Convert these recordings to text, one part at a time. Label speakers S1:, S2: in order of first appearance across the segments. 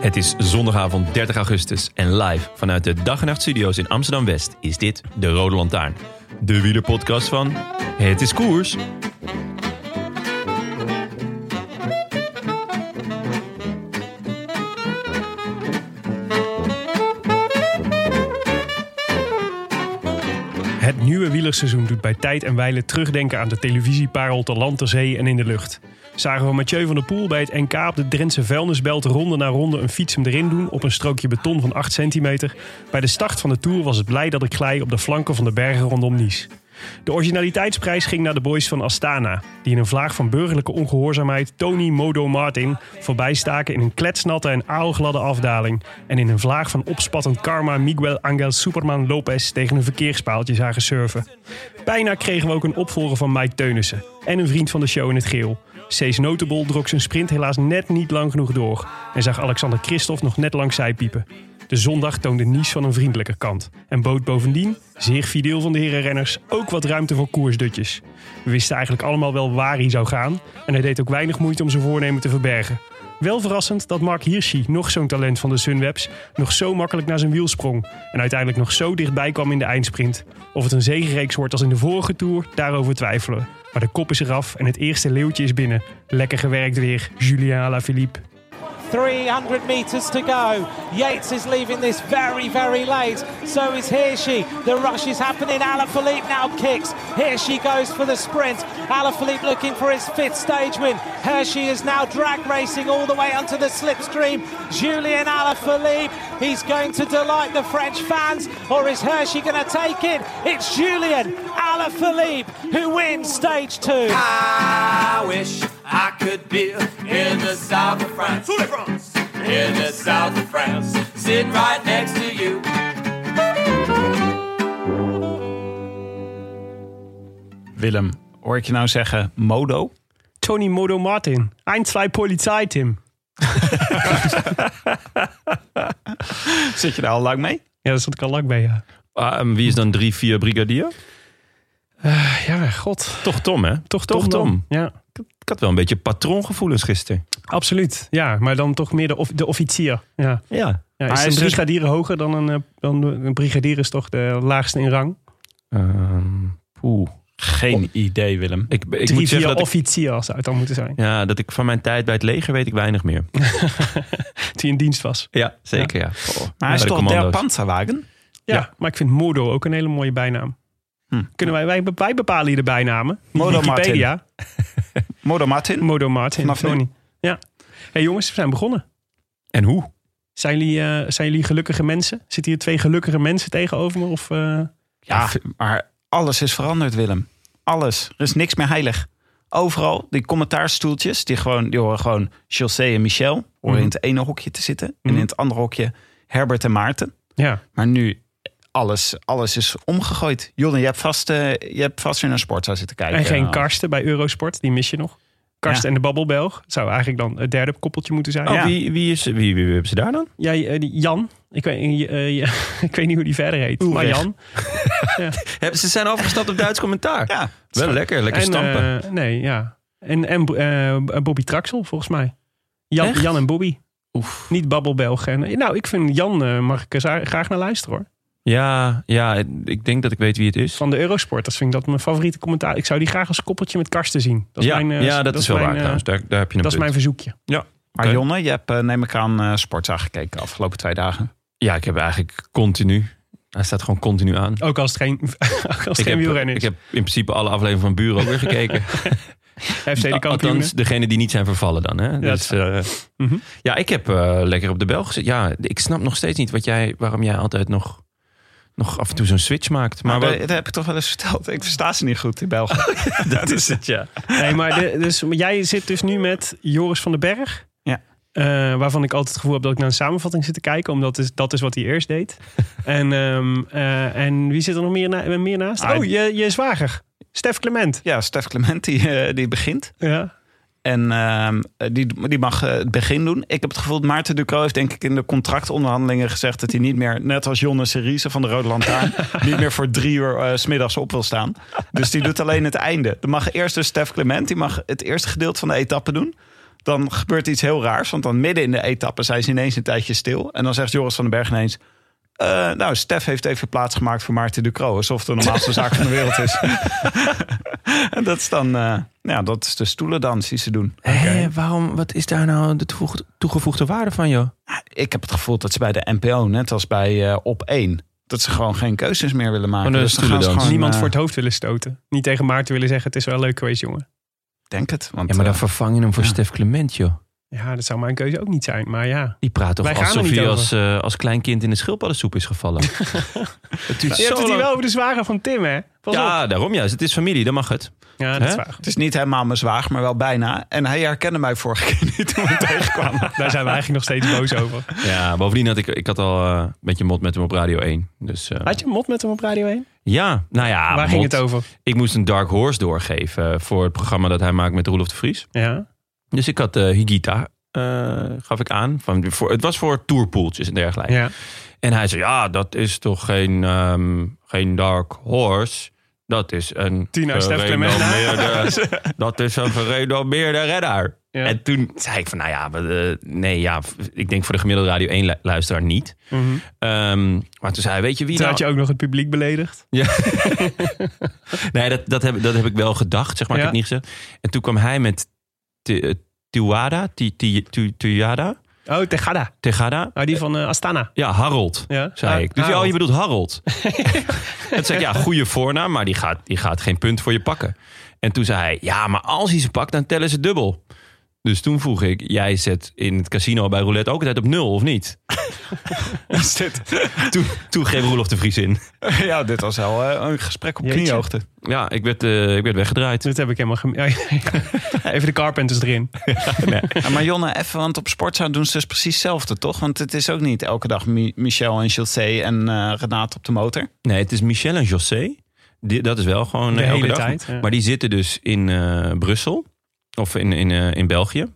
S1: Het is zondagavond 30 augustus en live vanuit de Dag en Nacht Studio's in Amsterdam-West is dit De Rode Lantaarn. De wielerpodcast van Het is Koers.
S2: Het nieuwe wielerseizoen doet bij tijd en wijle terugdenken aan de televisieparel te land, ter zee en in de lucht. Zagen we Mathieu van der Poel bij het NK op de Drentse vuilnisbelt ronde na ronde een fiets hem erin doen op een strookje beton van 8 centimeter. Bij de start van de Tour was het blij dat ik glij op de flanken van de bergen rondom Nice. De originaliteitsprijs ging naar de boys van Astana, die in een vlaag van burgerlijke ongehoorzaamheid Tony Modo Martin voorbijstaken in een kletsnatte en aalgladde afdaling en in een vlaag van opspattend karma Miguel Angel Superman Lopez tegen een verkeerspaaltje zagen surfen. Bijna kregen we ook een opvolger van Mike Teunissen en een vriend van de show in het geel. Cees Notable drok zijn sprint helaas net niet lang genoeg door en zag Alexander Christophe nog net langs zij piepen. De zondag toonde Nies van een vriendelijke kant en bood bovendien, zeer fideel van de herenrenners, ook wat ruimte voor koersdutjes. We wisten eigenlijk allemaal wel waar hij zou gaan en hij deed ook weinig moeite om zijn voornemen te verbergen. Wel verrassend dat Mark Hirschi, nog zo'n talent van de Sunwebs, nog zo makkelijk naar zijn wiel sprong en uiteindelijk nog zo dichtbij kwam in de eindsprint. Of het een zegenreeks wordt als in de vorige Tour, daarover twijfelen. Maar de kop is eraf en het eerste leeuwtje is binnen. Lekker gewerkt weer, Julien Alaphilippe.
S3: 300 metres to go. Yates is leaving this very, very late. So is Hirschi. The rush is happening. Alaphilippe now kicks. Hirschi goes for the sprint. Alaphilippe looking for his fifth stage win. Hirschi is now drag racing all the way onto the slipstream. Julian Alaphilippe, he's going to delight the French fans. Or is Hirschi going to take it? It's Julian Alaphilippe who wins stage two.
S4: I wish I could be in the south of France. In the south of France. Sitting right next to you.
S5: Willem, hoor ik je nou zeggen modo?
S2: Tony Modo Martin, ein, zwei Polizei, Tim.
S5: Zit je daar al lang mee?
S2: Ja, daar zat ik al lang bij, ja.
S1: Ah, en wie is dan 3, 4 brigadier?
S2: Ja, god.
S1: Toch Tom, hè? Toch, toch Tom.
S2: Ja,
S1: Ik had wel een beetje patroongevoelens gisteren.
S2: absoluut. Ja, maar dan toch meer de, of, de officier. Ja.
S1: Ja.
S2: Ja,
S5: Maar
S2: is
S5: hij
S2: een
S5: is dus-
S2: brigadier hoger dan een, eh, dan de- een brigadier is toch de laagste in rang?
S1: Ehm, poeh.
S5: Geen idee, Willem.
S1: Ik, ik moet
S2: Drie,
S1: zeggen
S2: vier
S1: dat ik,
S2: officier zou het dan moeten zijn.
S1: ja, dat ik van mijn tijd bij het leger weet ik weinig meer.
S2: Die in dienst was.
S1: Ja, zeker ja.
S5: Maar hij
S1: Bij
S5: is
S1: de
S5: toch der
S1: commando's.
S5: Panzerwagen?
S2: Ja,
S1: Ja.
S2: maar ik vind Modo ook een hele mooie bijnaam.
S5: Hm.
S2: Kunnen wij, wij, wij bepalen hier de bijnamen. Niet
S5: Modo
S2: Wikipedia.
S5: Modo Martin?
S2: Modo Martin.
S5: Vanaf nu.
S2: Tony. Ja. hey jongens, we zijn begonnen.
S1: En hoe?
S2: Zijn jullie, eh, zijn jullie gelukkige mensen? Zitten hier twee gelukkige mensen tegenover me? Of, eh,
S5: Ja, maar alles is veranderd, Willem. Alles. Er is niks meer heilig. Overal, die commentaarstoeltjes, die, gewoon, die horen gewoon Chaussee en Michel. Horen in het ene hokje te zitten. En in het andere hokje Herbert en Maarten.
S2: ja.
S5: Maar nu, alles, alles is omgegooid. Jordan, je hebt vast, eh, je hebt vast weer naar sportzaal zitten kijken.
S2: En geen
S5: Nou,
S2: Karsten bij Eurosport, die mis je nog. Karsten en
S5: Ja.
S2: de Babbelbelg zou eigenlijk dan het derde koppeltje moeten zijn.
S1: Oh,
S5: Ja.
S1: wie, wie, is, wie, wie, wie hebben ze daar dan?
S2: Jij, eh, die Jan, ik weet, eh, ja, ik weet niet hoe die verder heet, maar
S5: Ulrich.
S2: Jan.
S1: Hebben ze zijn overgestapt op Duits commentaar.
S5: Ja,
S1: Wel lekker, lekker
S2: En,
S1: stampen.
S2: eh, nee, ja. En, en eh, Bobby Traxel, volgens mij. Jan,
S1: Echt?
S2: Jan en Bobby.
S1: Oef.
S2: eh, Niet Babbelbelg. En, nou, ik vind Jan, eh, mag ik er za- graag naar luisteren hoor.
S1: Ja, ja, ik denk dat ik weet wie het is.
S2: Van de Eurosport. Dat vind ik dat mijn favoriete commentaar. Ik zou die graag als koppeltje met Karsten zien. Dat is
S1: ja,
S2: mijn, eh,
S1: ja, dat, is wel
S2: mijn,
S1: waar
S2: eh,
S1: trouwens. Daar, daar heb je een
S2: dat
S1: punt.
S2: is mijn verzoekje.
S5: Maar
S1: Oké.
S5: Jonne, je hebt eh, neem ik aan eh sportza gekeken de afgelopen twee dagen.
S1: Ja, ik heb eigenlijk continu... Hij staat gewoon continu aan.
S2: Ook als het geen, als het
S1: ik,
S2: geen
S1: heb,
S2: wielrennen
S1: ik
S2: is.
S1: heb in principe alle afleveringen van Buren ook weer gekeken.
S2: FC de kampioenen.
S1: Althans, degene die niet zijn vervallen dan. Hè? Dus, eh,
S2: Mhm.
S1: Ja, ik heb eh, lekker op de bel gezet. Ja, ik snap nog steeds niet wat jij, waarom jij altijd nog, nog af en toe zo'n switch maakt. Maar,
S2: Ah,
S5: Maar
S1: wat-
S5: dat, dat heb ik toch wel eens verteld. Ik versta ze niet goed in België.
S1: dat is het, ja.
S2: Nee, maar de- dus, maar jij zit dus nu met Joris van den Berg.
S5: Ja.
S2: Eh, waarvan ik altijd het gevoel heb dat ik naar een samenvatting zit te kijken. Omdat is, dat is wat hij eerst deed. en, ehm, eh, en wie zit er nog meer, na- meer naast?
S5: Ah,
S2: oh, je, je zwager. Stef Clement.
S5: Ja, Stef Clement die, eh, die begint.
S2: Ja.
S5: En ehm, die, die mag eh, het begin doen. Ik heb het gevoel dat Maarten Ducro heeft denk ik in de contractonderhandelingen gezegd... dat hij niet meer, net als Jonne Seriese van de Rode Lantaarn... niet meer voor drie uur eh, 's smiddags op wil staan. Dus die doet alleen het einde. Dan mag eerst dus Stef Clement, die mag het eerste gedeelte van de etappe doen. Dan gebeurt iets heel raars, want dan midden in de etappe... zijn ze ineens een tijdje stil. En dan zegt Joris van den Berg ineens... eh, nou, Stef heeft even plaatsgemaakt voor Maarten Ducro. Alsof het de normaalste zaak van de wereld is. en dat is dan... eh, ja, dat is de stoelendans die ze doen.
S1: Hé, waarom, wat is daar nou de toegevoegde, toegevoegde waarde van, joh?
S5: ik heb het gevoel dat ze bij de NPO, net als bij eh, Op 1, dat ze gewoon geen keuzes meer willen maken.
S1: Gewoon een
S5: Oh, dan gaan ze
S1: stoelendans.
S5: gewoon,
S2: Niemand
S5: eh,
S2: voor het hoofd willen stoten. Niet tegen Maarten willen zeggen, het is wel leuk geweest, jongen.
S5: denk het. Want,
S1: Ja, maar dan
S5: eh,
S1: vervang je hem voor
S5: ja.
S1: Stef Clement, joh.
S2: Ja, dat zou mijn keuze ook niet zijn. Maar ja.
S1: Die praat toch
S2: Wij gaan er
S1: alsof
S2: niet
S1: hij
S2: over.
S1: als, eh, als klein kind in de schildpaddensoep is gevallen. het duurt
S2: Je hebt
S1: zo
S2: het hier
S1: lang.
S2: wel over de zwager van Tim, hè? Pas op.
S1: Ja, daarom juist. Het is familie, dan mag het.
S2: Ja, dat is
S1: Hè?
S2: waar.
S5: het is niet helemaal mijn zwaag, maar wel bijna. En hij herkende mij vorige keer niet toen we hem tegenkwamen.
S2: Daar zijn we eigenlijk nog steeds boos over.
S1: Ja, bovendien had ik, ik had al eh, een beetje mot met hem op Radio 1. Dus, eh,
S2: Had je een mot met hem op Radio 1?
S1: Ja, nou ja.
S2: Waar
S1: mot.
S2: ging het over?
S1: Ik moest een Dark Horse doorgeven eh, voor het programma dat hij maakt met Roelof de Vries.
S2: Ja.
S1: Dus ik had eh, Higita, eh, gaf ik aan. Van, voor, het was voor tourpoeltjes en dergelijke.
S2: ja.
S1: En hij zei, ja, dat is toch geen, ehm, geen Dark Horse... Dat is een
S2: Tina Stef Clement.
S1: gerenommeerde- dat is een gerenommeerde redder.
S2: Ja.
S1: En toen zei ik van, nou ja, we, eh, nee, ja, f- ik denk voor de gemiddelde Radio 1 lu- luisteraar niet.
S2: Mhm.
S1: Ehm, maar toen zei hij, weet je wie
S2: Toen
S1: nou...
S2: had je ook nog het publiek beledigd.
S1: Nee, dat, dat, heb, dat heb ik wel gedacht, zeg maar. Ik
S2: Ja.
S1: heb het niet gezegd. En toen kwam hij met Ti- eh, Tiwada, Ti- Ti- Tu- Tujada,
S2: Oh, Tegada.
S1: Tegada.
S2: Oh, die van eh, Astana.
S1: Ja, Harold,
S2: Ja,
S1: zei
S2: Ha-
S1: ik. Dus ja,
S2: Harold.
S1: oh, je bedoelt Harold. en toen zei ik, ja, goede voornaam, maar die gaat, die gaat geen punt voor je pakken. En toen zei hij, ja, maar als hij ze pakt, dan tellen ze dubbel. Dus toen vroeg ik, jij zet in het casino bij roulette ook altijd op nul, of niet?
S5: Is dit?
S1: Toen, toen greep Roelof de Vries in.
S5: ja, dit was wel eh, een gesprek op
S2: Jeetje.
S5: kniehoogte.
S1: Ja, ik werd, eh, ik werd weggedraaid.
S2: Dat heb ik helemaal gem- Even de carpenters erin.
S5: Ja, maar Jonne, even, want op sportza doen ze dus precies hetzelfde, toch? Want het is ook niet elke dag Mi- Michel en Chaussee en eh Renate op de motor.
S1: Nee, het is Michel en José. Die, dat is wel gewoon
S2: De
S1: eh, elke
S2: hele
S1: dag.
S2: tijd, ja.
S1: Maar die zitten dus in eh, Brussel. Of in, in, eh, in België.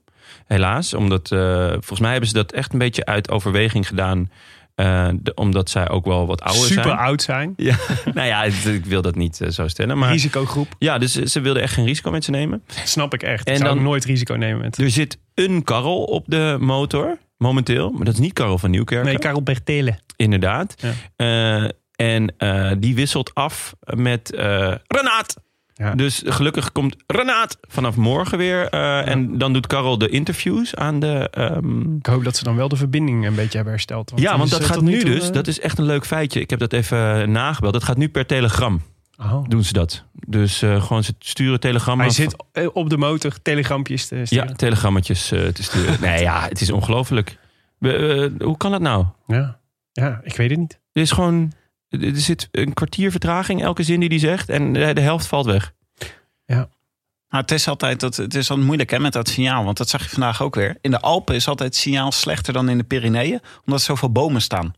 S1: Helaas. Omdat eh, volgens mij hebben ze dat echt een beetje uit overweging gedaan. eh, de- omdat zij ook wel wat ouder
S2: Super
S1: zijn.
S2: oud zijn.
S1: Ja, nou ja, het- ik wil dat niet eh, zo stellen. Maar
S2: Risicogroep.
S1: ja, dus ze ze wilden echt geen risico met ze nemen.
S2: Snap ik echt.
S1: En
S2: ik zou
S1: dan-
S2: ook nooit risico nemen met...
S1: Er zit een karrel op de motor. Momenteel. Maar dat is niet Karel van Nieuwkerk.
S2: Nee, Karel Bertele.
S1: Inderdaad. Eh, en eh, die wisselt af met eh Renaat.
S2: Ja.
S1: Dus gelukkig komt Renaat vanaf morgen weer. eh, En dan doet Karel de interviews aan de. ehm,
S2: Ik hoop dat ze dan wel de verbinding een beetje hebben hersteld.
S1: ja,
S2: dan
S1: want
S2: is
S1: dat
S2: het
S1: gaat
S2: tot
S1: nu
S2: toe,
S1: dus.
S2: eh,
S1: Dat is echt een leuk feitje. Ik heb dat even eh, nagebeld. Dat gaat nu per telegram.
S2: Oh.
S1: Doen ze dat. Dus eh, gewoon ze sturen telegrammen.
S2: Hij zit eh, op de motor telegrampjes te
S1: Ja,
S2: sturen.
S1: telegrammetjes eh, te sturen. nee, ja, het is ongelooflijk. We, eh, hoe kan dat nou?
S2: ja. Ja, ik weet het niet.
S1: Er is gewoon. Er zit een kwartier vertraging elke zin die hij zegt. En de de helft valt weg.
S5: Maar het is altijd dat, het is altijd moeilijk hè, met dat signaal. Want dat zag je vandaag ook weer. In de Alpen is altijd het signaal slechter dan in de Pyreneeën. Omdat er zoveel bomen staan.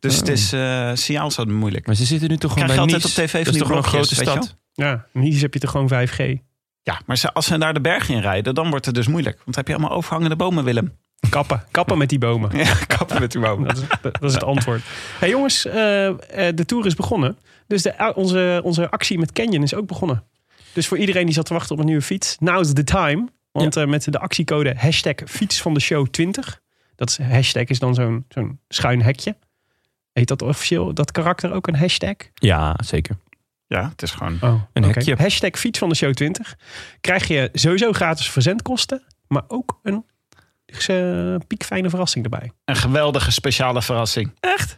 S5: Dus het is, eh signaal is altijd moeilijk.
S1: Maar ze zitten nu toch gewoon
S5: Krijg je
S1: bij
S5: altijd
S1: Nice.
S5: op tv van
S1: Dat is
S5: die
S1: toch gewoon een grote
S5: blokjes, weet je
S1: stad.
S2: Ja, in Nice heb je toch gewoon 5G.
S5: Ja, maar ze, als ze daar de berg in rijden, dan wordt het dus moeilijk. Want dan heb je allemaal overhangende bomen, Willem.
S2: Kappen. Kappen met die bomen.
S5: Ja, kappen met die bomen.
S2: Dat is, dat is het antwoord. Hey jongens, eh, eh, de tour is begonnen. Dus de, onze, onze actie met Canyon is ook begonnen. Dus voor iedereen die zat te wachten op een nieuwe fiets, now's the time. Want eh, met de actiecode hashtag fiets van de show 20. Dat is, hashtag is dan zo'n zo'n schuin hekje. Heet dat officieel, dat karakter ook een hashtag?
S1: Ja, zeker.
S5: Ja, het is gewoon...
S2: Oh,
S1: Een
S2: oké.
S1: hekje.
S2: Hashtag fiets van de show 20. Krijg je sowieso gratis verzendkosten, maar ook een eh, piekfijne verrassing erbij.
S5: Een geweldige speciale verrassing.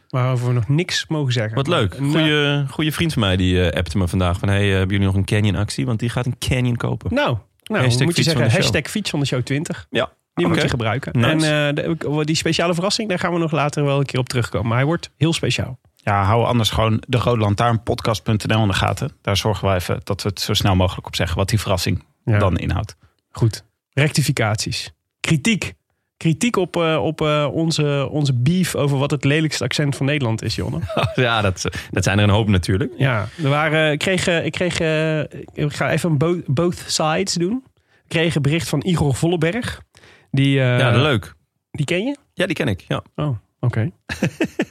S2: Waarover we nog niks mogen zeggen.
S1: Wat leuk.
S2: Een, eh,
S1: Goeie, goeie vriend van mij die eh appte me vandaag van... hey, eh, hebben jullie nog een Canyon actie? Want die gaat een Canyon kopen.
S2: nou, nou
S1: Hashtag fiets
S2: moet je
S1: van
S2: zeggen
S1: de show.
S2: hashtag fiets van de show 20.
S1: Ja.
S2: Die moet
S1: Oké.
S2: je gebruiken.
S1: Nice.
S2: En eh, de- die speciale verrassing, daar gaan we nog later wel een keer op terugkomen. Maar hij wordt heel speciaal.
S5: Ja, hou anders gewoon de Rode Lantaarnpodcast.nl in de gaten. Daar zorgen we even dat we het zo snel mogelijk op zeggen. Wat die verrassing
S2: Ja.
S5: dan inhoudt.
S2: Goed. Rectificaties. Kritiek. Kritiek op, eh, op eh, onze, onze beef over wat het lelijkste accent van Nederland is, Jonne.
S1: Ja, dat, dat zijn er een hoop natuurlijk.
S2: Ja, er waren, ik kreeg, eh, ik kreeg eh, ik ga even een bo- both sides doen. Ik kreeg een bericht van Igor Volleberg. Die, eh,
S1: ja, leuk.
S2: die ken je?
S1: Ja, die ken ik. Ja.
S2: Oh, oké.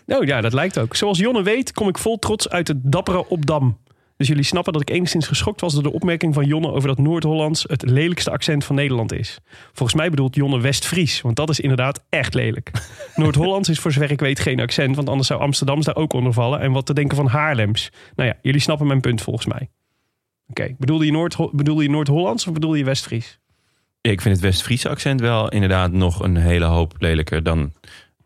S2: nou ja, dat lijkt ook. Zoals Jonne weet, kom ik vol trots uit het dappere Opdam. Dus jullie snappen dat ik enigszins geschokt was door de opmerking van Jonne over dat Noord-Hollands het lelijkste accent van Nederland is. Volgens mij bedoelt Jonne West-Fries, want dat is inderdaad echt lelijk. Noord-Hollands is voor zover ik weet geen accent, want anders zou Amsterdams daar ook onder vallen. En wat te denken van Haarlems. Nou ja, jullie snappen mijn punt volgens mij. Oké, bedoelde je Noord- bedoelde je Noord-Hollands of bedoelde je West-Fries?
S1: Ik vind het West-Friese accent wel inderdaad nog een hele hoop lelijker dan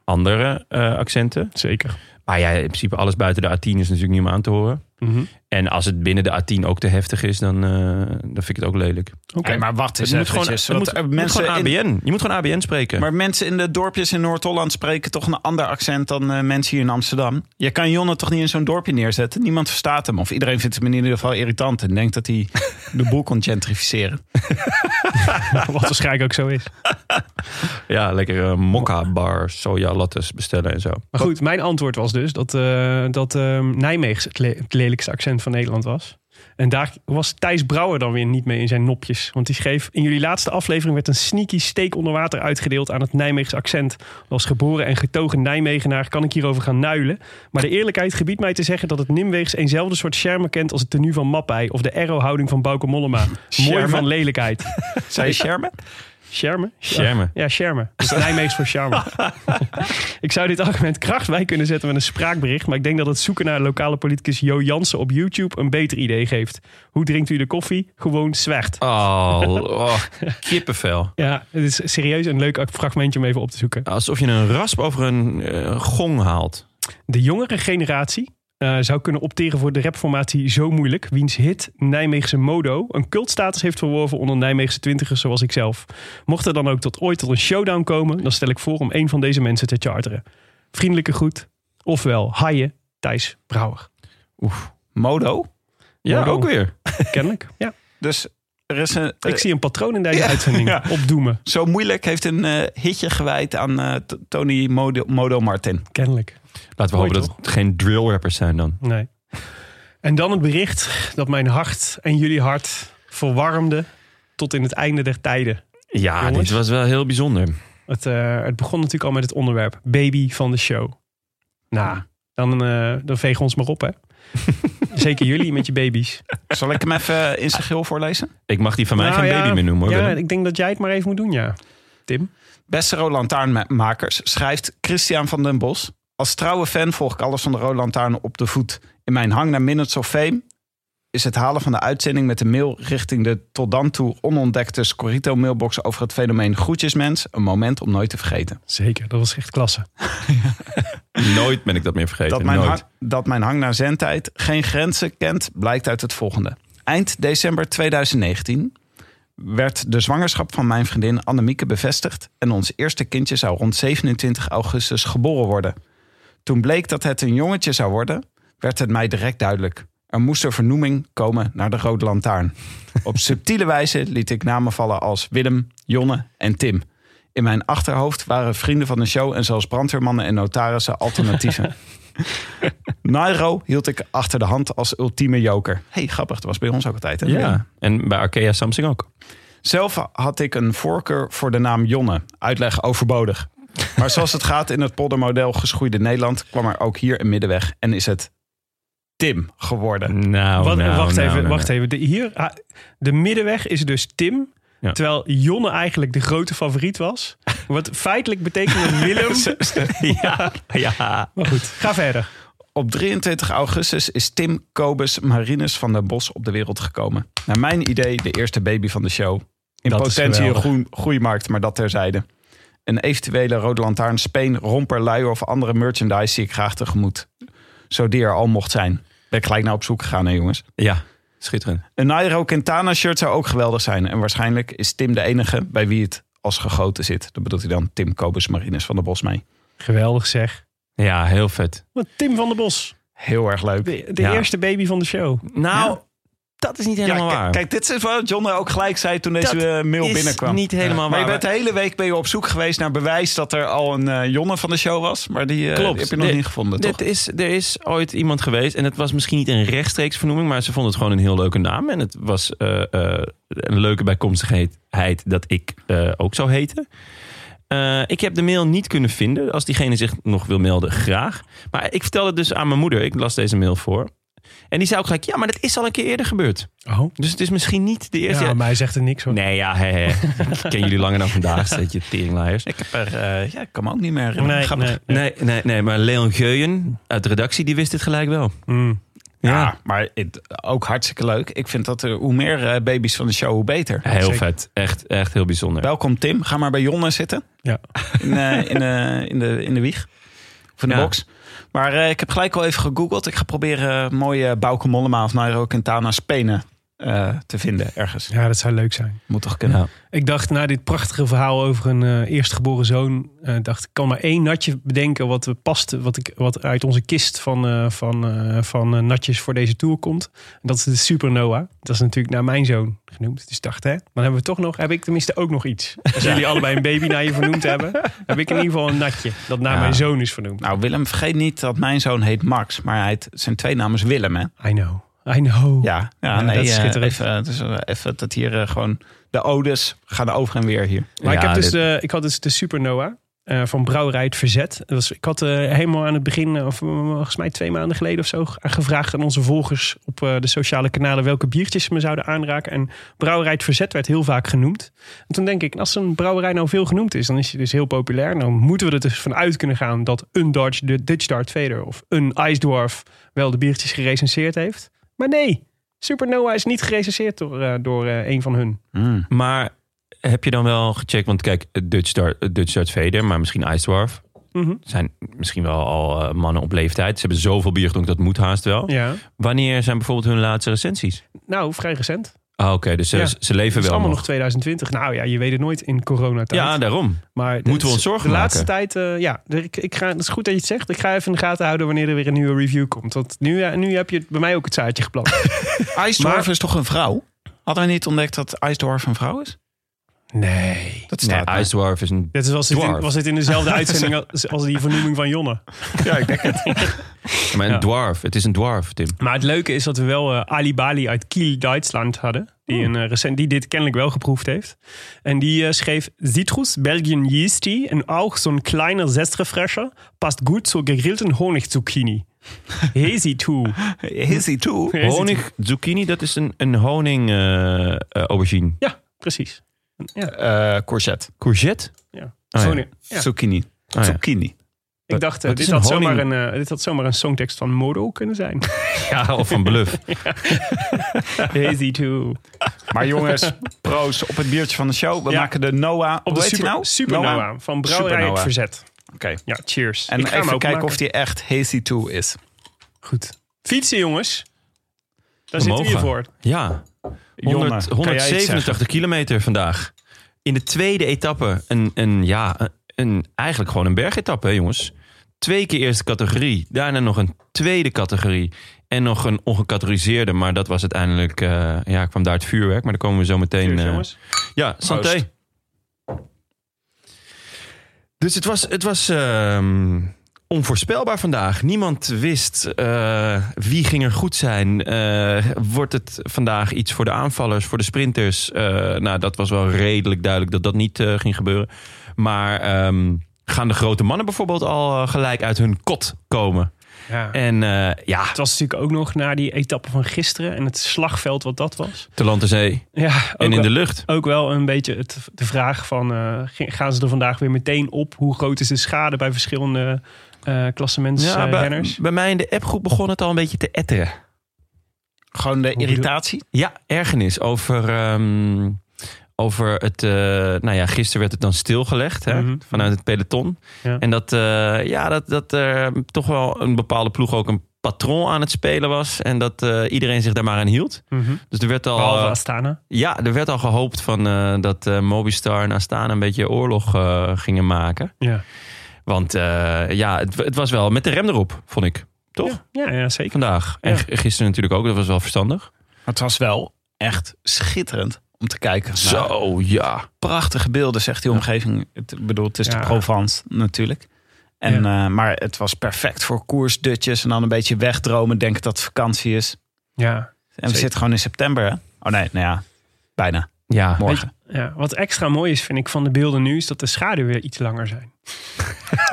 S1: andere eh, accenten.
S2: Zeker.
S1: Maar ja, in principe alles buiten de A10 is natuurlijk niet om aan te horen.
S2: Mhm.
S1: En als het binnen de A10 ook te heftig is, dan, eh, dan vind ik het ook lelijk.
S2: Oké.
S5: Hey, maar wacht eens
S1: Het moet gewoon,
S5: eventjes,
S1: het
S5: want
S1: moet,
S5: Dus er
S1: het moet
S5: mensen
S1: gewoon
S5: in-
S1: ABN. Je moet gewoon ABN spreken.
S5: Maar mensen in de dorpjes in Noord-Holland spreken toch een ander accent dan eh, mensen hier in Amsterdam. Je kan Jonne toch niet in zo'n dorpje neerzetten? Niemand verstaat hem. Of iedereen vindt hem in ieder geval irritant en denkt dat hij de boel kon gentrificeren.
S2: Wat waarschijnlijk ook zo is.
S1: Ja, lekker eh, mokka bar, soja lattes bestellen en zo.
S2: Maar goed, mijn antwoord was dus dat, eh dat eh, Nijmegen het, le- het lelijkste accent van Nederland was. En daar was Thijs Brouwer dan weer niet mee in zijn nopjes. Want die schreef... In jullie laatste aflevering werd een sneaky steek onder water uitgedeeld... aan het Nijmeegse accent. Als geboren en getogen Nijmegenaar kan ik hierover gaan nuilen. Maar de eerlijkheid gebiedt mij te zeggen... dat het Nimweegs eenzelfde soort schermen kent... als het tenue van Mappij of de aero-houding van Bauke Mollema. Mooi
S5: Schermen?
S2: van lelijkheid.
S5: Zei je Sherman?
S2: Schermen?
S1: Schermen.
S2: Ja, schermen. Dus Nijmeegs voor charme. ik zou dit argument kracht bij kunnen zetten met een spraakbericht... maar ik denk dat het zoeken naar lokale politicus Jo Jansen op YouTube... een beter idee geeft. Hoe drinkt u de koffie? Gewoon zwijgt.
S1: Oh, oh, kippenvel.
S2: Ja, het is serieus een leuk fragmentje om even op te zoeken.
S1: Alsof je een rasp over een eh, gong haalt.
S2: De jongere generatie eh, zou kunnen opteren voor de rapformatie Zo Moeilijk, wiens hit Nijmeegse Modo een cultstatus heeft verworven onder Nijmeegse twintigers zoals ik zelf. Mocht er dan ook tot ooit tot een showdown komen, dan stel ik voor om een van deze mensen te charteren. Vriendelijke groet, ofwel Haie Thijs Brouwer.
S5: Modo.
S1: Ja,
S2: Modo.
S1: ook weer.
S2: Kennelijk, ja.
S5: Dus er is een,
S2: Ik zie een patroon in deze uitzending
S5: ja.
S2: opdoemen.
S5: zo moeilijk heeft een eh, hitje gewijd aan eh, T- Tony Modo, Modo Martin.
S2: Kennelijk.
S1: Laten we
S2: Mooi,
S1: hopen dat
S2: toch?
S1: het geen drill rappers zijn dan.
S2: Nee. En dan het bericht dat mijn hart en jullie hart verwarmde tot in het einde der tijden.
S1: Ja,
S2: Jongens.
S1: dit was wel heel bijzonder.
S2: Het, eh, het begon natuurlijk al met het onderwerp baby van de show. Nou, dan, eh dan vegen ons maar op, hè? Zeker jullie met je baby's.
S5: Zal ik hem even in zijn geheel voorlezen?
S1: Ik mag die van mij
S2: Nou
S1: geen
S2: ja,
S1: baby meer noemen hoor.
S2: Ja,
S1: Willem.
S2: ik denk dat jij het maar even moet doen, ja. Tim.
S5: Beste Rode Lantaarnmakers, schrijft Christian van den Bos. Als trouwe fan volg ik alles van de Rode Lantaarn op de voet. In mijn hang naar Minutes of Fame is het halen van de uitzending met de mail richting de tot dan toe onontdekte Scorito mailbox over het fenomeen groetjesmens een moment om nooit te vergeten.
S2: Zeker, dat was echt klasse.
S1: Nooit ben ik dat meer vergeten.
S5: Dat mijn,
S1: Nooit.
S5: hang, dat mijn hang naar zendtijd geen grenzen kent, blijkt uit het volgende. Eind december 2019 werd de zwangerschap van mijn vriendin Annemieke bevestigd... en ons eerste kindje zou rond 27 augustus geboren worden. Toen bleek dat het een jongetje zou worden, werd het mij direct duidelijk. Er moest een vernoeming komen naar de Rode Lantaarn. Op subtiele wijze liet ik namen vallen als Willem, Jonne en Tim. In mijn achterhoofd waren vrienden van de show en zelfs brandweermannen en notarissen alternatieven. Nairo hield ik achter de hand als ultieme joker. hey, grappig, dat was bij ons ook altijd. Hè?
S1: Ja, en bij Arkea Samsung ook.
S5: Zelf had ik een voorkeur voor de naam Jonne. Uitleg overbodig. Maar zoals het gaat in het poldermodel geschoeide Nederland... kwam er ook hier een middenweg en is het Tim geworden.
S1: Nou,
S2: Wat-
S1: nou,
S2: wacht
S1: nou,
S2: even,
S1: nou,
S2: wacht even. De, hier, ah, de middenweg is dus Tim.
S1: Ja.
S2: Terwijl Jonne eigenlijk de grote favoriet was. Wat feitelijk betekent dat Willem...
S1: ja, ja.
S2: maar goed, ga verder.
S5: Op 23 augustus is Tim Kobus Marinus van der Bos op de wereld gekomen. Naar mijn idee de eerste baby van de show. In
S2: Dat is
S5: potentie een
S2: geweldig.
S5: groen- groeimarkt, maar dat terzijde. Een eventuele rode lantaarn, speen, romper, luier of andere merchandise zie ik graag tegemoet. Zo die er al mocht zijn. Ben ik gelijk naar op zoek gegaan, hè jongens.
S1: Ja, schitterend.
S5: Een Nairo Quintana shirt zou ook geweldig zijn. En waarschijnlijk is Tim de enige bij wie het als gegoten zit. Dat bedoelt hij dan Tim Kobus Marinus van der Bos mee.
S2: Geweldig zeg.
S1: Ja, heel vet.
S2: Want Tim van der Bos,
S5: Heel erg leuk.
S2: de, de
S1: Ja.
S2: eerste baby van de show.
S1: Nou, dat is niet
S5: Ja,
S1: helemaal
S5: k-
S1: waar.
S5: Kijk, dit is wat John er ook gelijk zei toen deze
S1: Dat
S5: eh, mail
S1: is
S5: binnenkwam.
S1: niet helemaal
S5: Maar je
S1: waar.
S5: bent de hele week ben je op zoek geweest naar bewijs dat er al een eh, Jonne van de show was. Maar die, eh,
S1: Klopt.
S5: die heb je nog
S1: Dit-
S5: niet gevonden, toch?
S1: Dit is, er is ooit iemand geweest, en het was misschien niet een rechtstreeks vernoeming, maar ze vonden het gewoon een heel leuke naam. En het was eh, eh, een leuke bijkomstigheid dat ik eh, ook zou heten. Eh, ik heb de mail niet kunnen vinden. Als diegene zich nog wil melden, graag. Maar ik vertelde het dus aan mijn moeder. Ik las deze mail voor. En die zei ook gelijk, ja, maar dat is al een keer eerder gebeurd.
S2: Oh.
S1: Dus het is misschien niet de
S2: Ja,
S1: eerste.
S2: maar hij zegt er niks van.
S1: Nee, ja, hè, hè. ik ken jullie langer dan vandaag, zet je teringlaaiers.
S5: Ik, heb er, eh, ja, ik kan me ook niet meer herinneren.
S2: Nee,
S5: Grappig.
S2: nee.
S1: Nee, nee, nee, maar Leon Geuyen uit de redactie, die wist dit gelijk wel.
S2: Mm.
S5: Ja, maar het- ook hartstikke leuk. Ik vind dat er, hoe meer eh, baby's van de show, hoe beter.
S1: Heel
S2: Zeker.
S1: vet. Echt, echt heel bijzonder.
S5: Welkom Tim. Ga maar bij Jonne zitten.
S2: Ja.
S5: In, eh, in, eh, in, de, in de wieg. Of in de
S1: Ja.
S5: box. Maar eh, ik heb gelijk al even gegoogeld. Ik ga proberen eh, mooie Bauke Mollema of Nairo Quintana Spenen eh, te vinden ergens.
S2: ja, dat zou leuk zijn.
S5: Moet toch kunnen.
S1: Ja.
S2: Ik dacht na dit prachtige verhaal over een eh, eerstgeboren zoon, eh, dacht ik kan maar één natje bedenken wat we past, wat, ik, wat uit onze kist van, eh, van, eh, van eh, natjes voor deze tour komt. En dat is de Supernova. Dat is natuurlijk naar mijn zoon genoemd. Dus ik dacht, hè, dan hebben we toch nog, heb ik tenminste ook nog iets. Als jullie allebei een baby naar je vernoemd hebben, heb ik in ieder geval een natje dat naar
S1: Ja.
S2: mijn zoon is vernoemd.
S5: Nou, Willem, vergeet niet dat mijn zoon heet Max. Maar hij heet- zijn twee namen is Willem, hè?
S2: I know, I know.
S5: Ja, ja,
S2: Ja,
S5: nee,
S2: dat is
S5: eh,
S2: schitterend.
S5: Even, eh, dus, eh, even dat hier eh, gewoon de odes gaan over en weer hier.
S2: Maar ik,
S1: Ja,
S2: heb dus
S1: dit-
S2: de, ik had dus de Supernova eh, van Brouwerij het Verzet. Dat was, ik had eh, helemaal aan het begin, eh, of eh, volgens mij twee maanden geleden of zo, ge- gevraagd aan onze volgers op eh, de sociale kanalen welke biertjes ze me zouden aanraken. En Brouwerij het Verzet werd heel vaak genoemd. En toen denk ik, als een brouwerij nou veel genoemd is, dan is hij dus heel populair. Dan moeten we er dus vanuit kunnen gaan dat een Dutch, de Dutch Dart Vader of een Ice Dwarf wel de biertjes gerecenseerd heeft. Maar nee, Supernova is niet gerecenseerd door, eh, door eh, een van hun.
S1: Maar heb je dan wel gecheckt? Want kijk, Dutch Dart, Dutch Dart Vader, maar misschien Ice Dwarf.
S2: Mhm.
S1: Zijn misschien wel al eh, mannen op leeftijd. Ze hebben zoveel bier gedronken, dat moet haast wel.
S2: Ja.
S1: Wanneer zijn bijvoorbeeld hun laatste recensies?
S2: Nou, vrij recent.
S1: Ah, Oké, dus ze,
S2: Ja.
S1: ze leven
S2: Het is
S1: wel
S2: allemaal
S1: nog.
S2: nog 2020. Nou ja, je weet het nooit in coronatijd.
S1: Ja, daarom.
S2: maar
S1: moeten we
S2: het-
S1: ons zorgen
S2: De laatste
S1: maken?
S2: tijd, eh, ja. er- Ik, ik ga, het is goed dat je het zegt. Ik ga even in de gaten houden wanneer er weer een nieuwe review komt. Want nu, eh, nu heb je bij mij ook het zaadje geplant.
S5: IJsdorf
S2: Maar-
S5: is toch een vrouw? Hadden we niet ontdekt dat IJsdorf een vrouw is?
S2: nee.
S5: Dat
S1: Nee,
S5: staat er.
S1: Ice Dwarf is een...
S2: Dit was dit in,
S1: Dwarf.
S2: was dit in dezelfde uitzending als, als die vernoeming van Jonne.
S5: Ja, ik denk het.
S1: Maar een
S2: Ja.
S1: dwarf. Het is een dwarf, Tim.
S2: Maar het leuke is dat we wel eh, Ali Bali uit Kiel, Duitsland hadden. Die, een, eh, recent, die dit kennelijk wel geproefd heeft. En die eh, schreef... Citrus, Belgian yeasty en ook zo'n kleine zestrefresher... past goed zur gegrillten honigzucchini. Hazy too.
S5: Is hij toe?
S2: Hazy too.
S1: Honig zucchini, dat is een, een honing eh, eh, aubergine.
S2: Ja, precies. Ja,
S5: Eh courgette.
S1: Courgette?
S2: ja.
S1: Oh, ja.
S2: Honing. Ja.
S5: Zucchini.
S1: Ah, ja.
S5: Zucchini.
S2: Ik dacht, eh,
S1: Wat is
S2: dit,
S1: een
S2: had
S1: honing?
S2: zomaar een, eh, dit had zomaar een songtekst van Modo kunnen zijn.
S1: ja, of van bluff.
S2: Hazy too.
S5: Maar jongens, proost op het biertje van de show. We
S2: Ja.
S5: maken de Noah...
S2: Op de
S5: hoe heet die
S2: super,
S5: nou?
S2: Supernova
S5: Noah?
S2: van Brouwerij
S5: Supernova.
S2: het Verzet.
S5: Oké.
S2: Ja, cheers.
S5: En
S2: Ik ga hem
S5: even kijken
S2: openmaken.
S5: of die echt Hazy 2 is.
S2: Goed. Fietsen, jongens. Daar zitten
S1: Omhoog
S2: we hier
S1: gaan.
S2: voor.
S1: Ja, 100,
S5: Jonne, kan jij iets zeggen?
S1: 187 kilometer vandaag. In de tweede etappe, een, een, ja, een, eigenlijk gewoon een bergetappe, hè, jongens. Twee keer eerste categorie, daarna nog een tweede categorie. En nog een ongecategoriseerde, maar dat was uiteindelijk... eh, ja, kwam daar het vuurwerk, maar daar komen we zo meteen...
S2: Cheers,
S1: eh,
S2: jongens.
S1: ja,
S5: Proost.
S1: santé. Dus het was, het was ehm, onvoorspelbaar vandaag. Niemand wist eh, wie ging er goed zijn. Eh, wordt het vandaag iets voor de aanvallers, voor de sprinters? Eh, nou, dat was wel redelijk duidelijk dat dat niet eh, ging gebeuren. Maar ehm, gaan de grote mannen bijvoorbeeld al eh, gelijk uit hun kot komen?
S2: Ja.
S1: En eh, ja,
S2: Het was natuurlijk ook nog na die etappe van gisteren en het slagveld wat dat was.
S1: te land en zee
S2: Ja, ook
S1: en in
S2: wel-
S1: de lucht.
S2: ook wel een beetje het, de vraag van... eh, g- gaan ze er vandaag weer meteen op? Hoe groot is de schade bij verschillende eh
S1: Ja, bij,
S2: klassementsrenners?
S1: bij mij in de appgroep begon het al een beetje te etteren.
S5: Gewoon de
S2: bedoel-
S5: irritatie.
S1: Ja, ergernis over, ehm, over het. eh, nou ja, gisteren werd het dan stilgelegd hè,
S2: Mhm.
S1: vanuit het peloton.
S2: Ja.
S1: En dat, eh, ja, dat, dat er toch wel een bepaalde ploeg ook een patroon aan het spelen was. En dat eh, iedereen zich daar maar aan hield.
S2: Mhm.
S1: Dus er werd al,
S2: Behalve
S1: eh,
S2: Astana.
S1: ja, er werd al gehoopt van, eh, dat eh, Mobistar en Astana een beetje oorlog eh, gingen maken.
S2: Ja.
S1: Want eh, ja, het, het was wel met de rem erop, vond ik. Toch?
S2: Ja, ja, ja, zeker.
S1: Vandaag. En
S2: Ja.
S1: g- gisteren natuurlijk ook, dat was wel verstandig.
S5: Maar het was wel echt schitterend om te kijken. Nou,
S1: Zo, ja.
S5: prachtige beelden, zegt die omgeving. Het, ik bedoel, het is
S2: Ja.
S5: de Provence natuurlijk. En, eh, maar het was perfect voor koersdutjes en dan een beetje wegdromen, denken dat het vakantie is.
S2: Ja.
S5: En we zitten gewoon in september, hè? Oh nee, nou ja, bijna.
S1: Ja,
S5: Morgen.
S2: Ja, wat extra mooi is, vind ik, van de beelden nu... is dat de schaduwen weer iets langer zijn.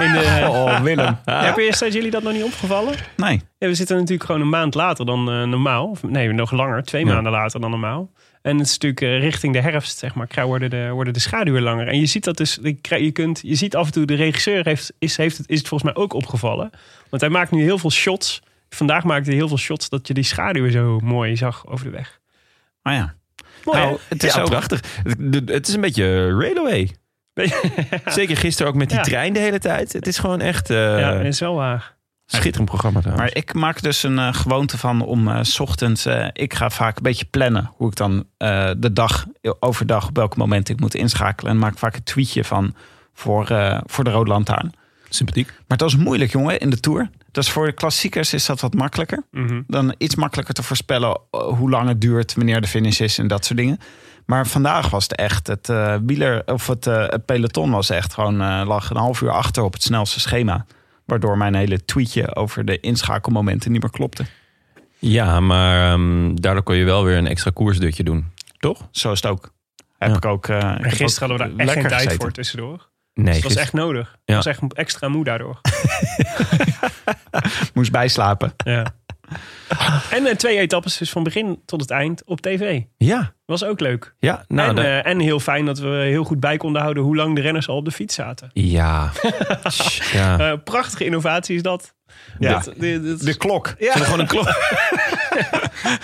S2: In de,
S5: Oh, Willem.
S2: Heb je, zijn jullie dat nog niet opgevallen?
S5: Nee.
S2: Ja, we zitten natuurlijk gewoon een maand later dan eh, normaal. Of, nee, nog langer. Twee
S1: Ja.
S2: maanden later dan normaal. En het is natuurlijk eh, richting de herfst, zeg maar, krijgen- worden de, worden de schaduwen langer. En je ziet dat dus, je krij- je, kunt, je ziet af en toe, de regisseur heeft, is, heeft het, is het volgens mij ook opgevallen. Want hij maakt nu heel veel shots. Vandaag maakte hij heel veel shots dat je die schaduwen zo mooi zag over de weg.
S5: Maar ja.
S2: Mooi,
S1: Nou, het is
S5: Ja,
S1: ook prachtig. Het, het is een beetje railway. Zeker gisteren ook met die
S2: Ja.
S1: trein de hele tijd. Het is gewoon echt eh
S2: hè? ja, dat is wel waar.
S1: schitterend programma trouwens.
S5: Maar ik maak dus een eh, gewoonte van om eh, 's ochtends. eh, ik ga vaak een beetje plannen hoe ik dan eh, de dag, overdag, op welk moment ik moet inschakelen. En maak vaak een tweetje van voor, eh, voor de Rode Lantaarn.
S1: Sympathiek.
S5: Maar dat is moeilijk, jongen, in de Tour. Dus voor de klassiekers is dat wat makkelijker.
S2: Mhm.
S5: Dan iets makkelijker te voorspellen eh, hoe lang het duurt, wanneer de finish is en dat soort dingen. Maar vandaag was het echt, het eh, wieler, of het, eh, het peloton was echt gewoon, eh, lag een half uur achter op het snelste schema. Waardoor mijn hele tweetje over de inschakelmomenten niet meer klopte.
S1: Ja, maar ehm, daardoor kon je wel weer een extra koersdutje doen.
S2: Dus
S1: Toch?
S5: Zo is het ook. Heb
S1: Ja.
S5: ik ook. eh, ik heb
S2: En
S5: ook
S2: gisteren hadden we daar echt
S5: lekker
S2: geen tijd
S5: gezeten.
S2: voor tussendoor.
S1: Nee,
S2: Dus dat was
S1: gisteren-
S2: echt nodig. Ik
S1: Ja.
S2: was echt extra moe daardoor.
S5: Moest bijslapen.
S2: Ja. en eh, twee etappes dus van begin tot het eind op tv.
S1: Ja,
S2: Was ook leuk.
S1: ja. Nou,
S2: en,
S1: daar-
S2: eh, en heel fijn dat we heel goed bij konden houden hoe lang de renners al op de fiets zaten.
S1: ja. ja.
S2: Eh, prachtige innovatie is dat.
S1: Ja.
S2: Dat- dit- dit is
S5: De klok.
S1: Zullen we gewoon een klok.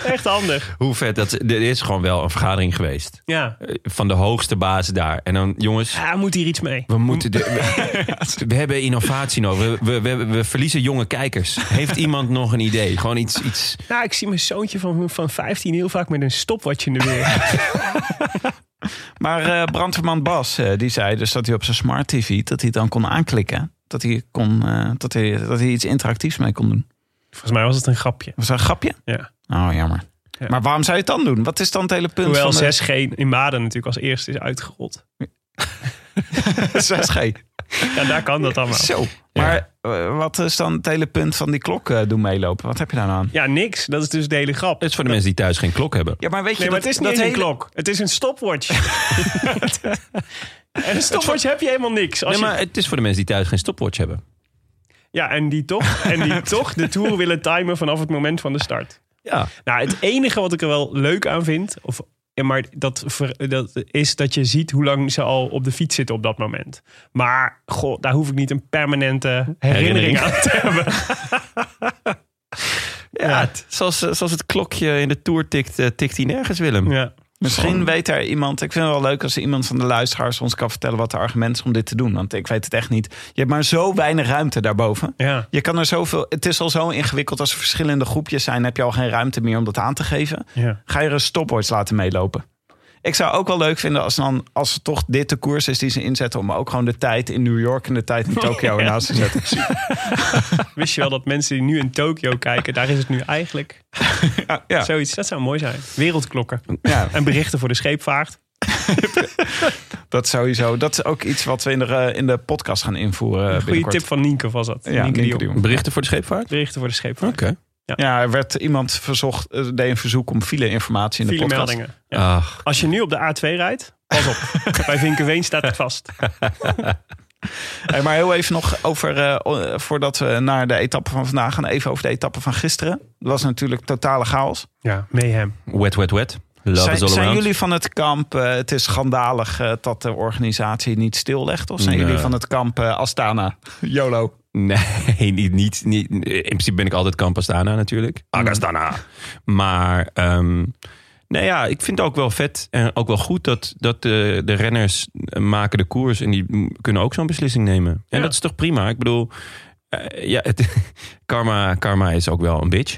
S2: echt handig.
S1: Hoe vet. Dat, er is gewoon wel een vergadering geweest.
S2: Ja.
S1: Eh, Van de hoogste baas daar. En dan, jongens,
S2: ja, moet hier iets mee.
S1: We moeten. De, we, we hebben innovatie nodig. We, we, we, we verliezen jonge kijkers. Heeft iemand nog een idee? Gewoon iets. iets
S2: Ja, Nou, ik zie mijn zoontje van, van 15 heel vaak met een stopwatch in de weer.
S5: Maar eh brandweerman Bas, eh, die zei dus dat hij op zijn smart TV dat hij het dan kon aanklikken. Dat hij, kon, eh, dat, hij, dat hij iets interactiefs mee kon doen.
S2: Volgens mij was het een grapje.
S5: Was dat een grapje?
S2: Ja.
S5: Oh, jammer.
S2: Ja.
S5: Maar waarom zou je het dan doen? Wat is dan het hele punt
S2: Hoewel
S5: van
S2: 6G in Maden natuurlijk als eerste is uitgerold.
S5: de 6G?
S2: Ja, daar kan dat allemaal.
S5: Zo. Maar eh, wat is dan het hele punt van die klok eh, doen meelopen? Wat heb je daar nou aan?
S2: Ja, niks. Dat is dus de hele grap.
S1: het is voor de mensen die thuis geen klok hebben.
S5: Ja, maar weet je,
S2: Nee, maar
S5: dat
S2: het is niet
S5: dat
S2: eens een
S5: hele-
S2: klok. Het is een stopwatch. en een stopwatch heb je helemaal niks. Als
S1: Nee,
S2: je-
S1: maar het is voor de mensen die thuis geen stopwatch hebben.
S2: Ja, en die toch, en die toch de Tour willen timen vanaf het moment van de start.
S1: Ja.
S2: Nou, het enige wat ik er wel leuk aan vind, of, ja, maar dat, ver- dat is dat je ziet hoe lang ze al op de fiets zitten op dat moment. Maar goh, daar hoef ik niet een permanente
S1: Herinnering.
S2: herinnering, aan te hebben.
S1: ja. het- zoals, eh, zoals het klokje in de tour tikt, eh, tikt hij nergens, Willem.
S2: Ja.
S5: Misschien weet er iemand. Ik vind het wel leuk als er iemand van de luisteraars ons kan vertellen wat de argument is om dit te doen. Want ik weet het echt niet. Je hebt maar zo weinig ruimte daarboven.
S2: Ja.
S5: Je kan er zoveel. Het is al zo ingewikkeld als er verschillende groepjes zijn. Heb je al geen ruimte meer om dat aan te geven?
S2: Ja.
S5: Ga je er een stopwatch laten meelopen? Ik zou ook wel leuk vinden als, dan, als het toch dit de koers is die ze inzetten. om ook gewoon de tijd in New York en de tijd in Tokio ernaast te zetten.
S2: Wist je wel dat mensen die nu in Tokio kijken, daar is het nu eigenlijk
S5: Ja, ja.
S2: zoiets. Dat zou mooi zijn. Wereldklokken.
S5: Ja.
S2: En berichten voor de scheepvaart.
S5: dat sowieso. Dat is ook iets wat we in de, eh, in de podcast gaan invoeren. eh,
S2: Goeie
S5: binnenkort.
S2: tip van Nienke was dat.
S5: Ja,
S2: Nienke de
S5: Nienke de
S2: Jong.
S5: Jong.
S1: Berichten voor de scheepvaart?
S2: Berichten voor de scheepvaart.
S1: Oké.
S5: Ja, er werd iemand verzocht, eh, deed een verzoek om file-informatie in de
S2: File
S5: podcast.
S2: meldingen. Ja.
S1: Ach,
S2: Als je nu op de A2 rijdt, pas op. Bij Vinkenveen staat het vast.
S5: Hey, maar heel even nog over, eh, o- voordat we naar de etappe van vandaag gaan, even over de etappe van gisteren. Dat was natuurlijk totale chaos.
S2: Ja, mayhem.
S1: Wet, wet, wet. Love
S5: zijn
S1: is all
S5: zijn
S1: around.
S5: jullie van het kamp, eh, het is schandalig eh, dat de organisatie niet stillegt? Of zijn
S1: Nee.
S5: jullie van het kamp eh, Astana? YOLO.
S1: Nee, niet, niet, niet. In principe ben ik altijd Campastana natuurlijk.
S5: Ah,
S1: Agastana. Maar ehm nou ja, ik vind het ook wel vet en ook wel goed dat, dat de, de renners maken de koers en die m- kunnen ook zo'n beslissing nemen. En
S2: Ja.
S1: dat is toch prima? Ik bedoel, eh, ja, het, karma, karma is ook wel een bitch.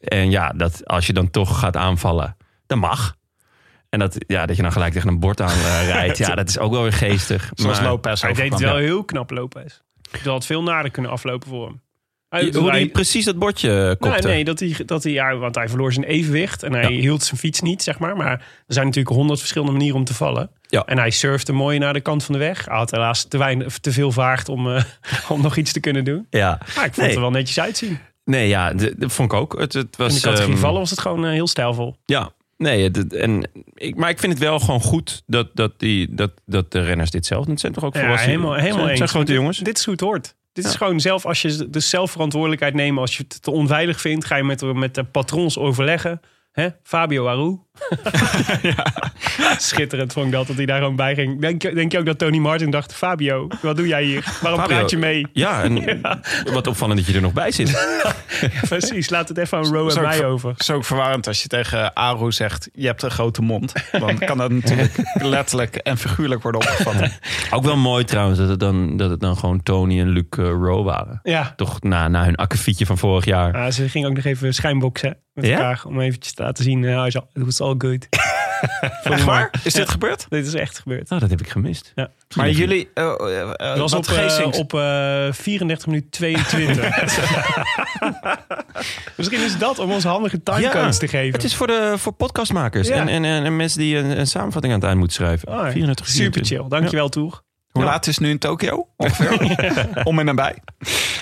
S1: En ja, dat als je dan toch gaat aanvallen, dan mag. En dat, ja, dat je dan gelijk tegen een bord aan eh, rijdt, ja, dat is ook wel weer geestig.
S5: Zoals
S1: Maar-
S5: Lopez
S2: Hij deed
S5: overkwam.
S2: het wel heel knap Lopez. Dat had veel nader kunnen aflopen voor hem. Hij,
S1: Je- Hoe
S2: hij-
S1: die precies dat bordje eh,
S2: nee,
S1: kopte.
S2: nee, dat hij, dat hij, ja, want hij verloor zijn evenwicht en hij hield zijn fiets niet, zeg maar. Maar er zijn natuurlijk honderd verschillende manieren om te vallen.
S1: Ja.
S2: En hij surfte mooi naar de kant van de weg. Hij had helaas te, weinig, of te veel vaart om, eh, om nog iets te kunnen doen.
S1: Ja.
S2: Maar Ah, ik vond
S1: Nee.
S2: het er wel netjes uitzien.
S1: Nee, ja, d- dat vond ik ook. Het, het was,
S2: In de categorie
S1: ehm,
S2: vallen was het gewoon eh, heel stijlvol.
S1: Ja, nee, het- het- en, ik, maar ik vind het wel gewoon goed dat, dat, die, dat, dat de renners dit zelf doen. Het zijn toch ook
S2: Ja,
S1: volwassen...
S2: helemaal- helemaal
S1: het zijn, het zijn
S2: eens.
S1: grote jongens.
S2: Dit is goed hoort. Dit is gewoon zelf, als je de zelfverantwoordelijkheid neemt, als je het te onveilig vindt, ga je met, de- met de patrons overleggen. Hè? Fabio Aru. Schitterend vond ik dat, dat hij daar gewoon bij ging. Denk, je- denk je ook dat Tony Martin dacht, Fabio, wat doe jij hier? Waarom
S1: Fabio.
S2: praat je mee?
S1: Ja, en wat opvallend dat je er nog bij zit.
S2: Precies, laat het even aan Row en
S5: Zo-
S2: mij over.
S5: Het is ook verwarrend als je tegen Aru zegt, je hebt een grote mond. Dan kan dat natuurlijk letterlijk en figuurlijk worden opgevat.
S1: Ook wel mooi trouwens dat het dan, dat het dan gewoon Tony en Luc eh, Rowe waren.
S2: Ja.
S1: Toch na, na hun akkefietje van vorig jaar.
S2: Ah, ze ging ook nog even schijnboksen met
S1: Ja?
S2: elkaar. Om eventjes te laten zien, eh, het was all good.
S5: Echt waar? Is dit gebeurd?
S2: Dit is echt gebeurd.
S1: Oh, dat heb ik gemist.
S2: Ja.
S5: Maar jullie... eh, eh, eh,
S2: Dat was
S5: wat
S2: op, eh,
S5: Geesink-
S2: op eh, 34 minuten 22. Misschien is dat om ons handige timecodes te geven.
S1: Het is voor, de, voor podcastmakers
S2: Ja.
S1: en, en, en, en mensen die een, een samenvatting aan het eind moeten schrijven.
S5: Oh
S2: Ah,
S1: 34
S2: Super chill. Dankjewel, Toer.
S5: Hoe laat is het nu in Tokio? Ongeveer. Om en nabij.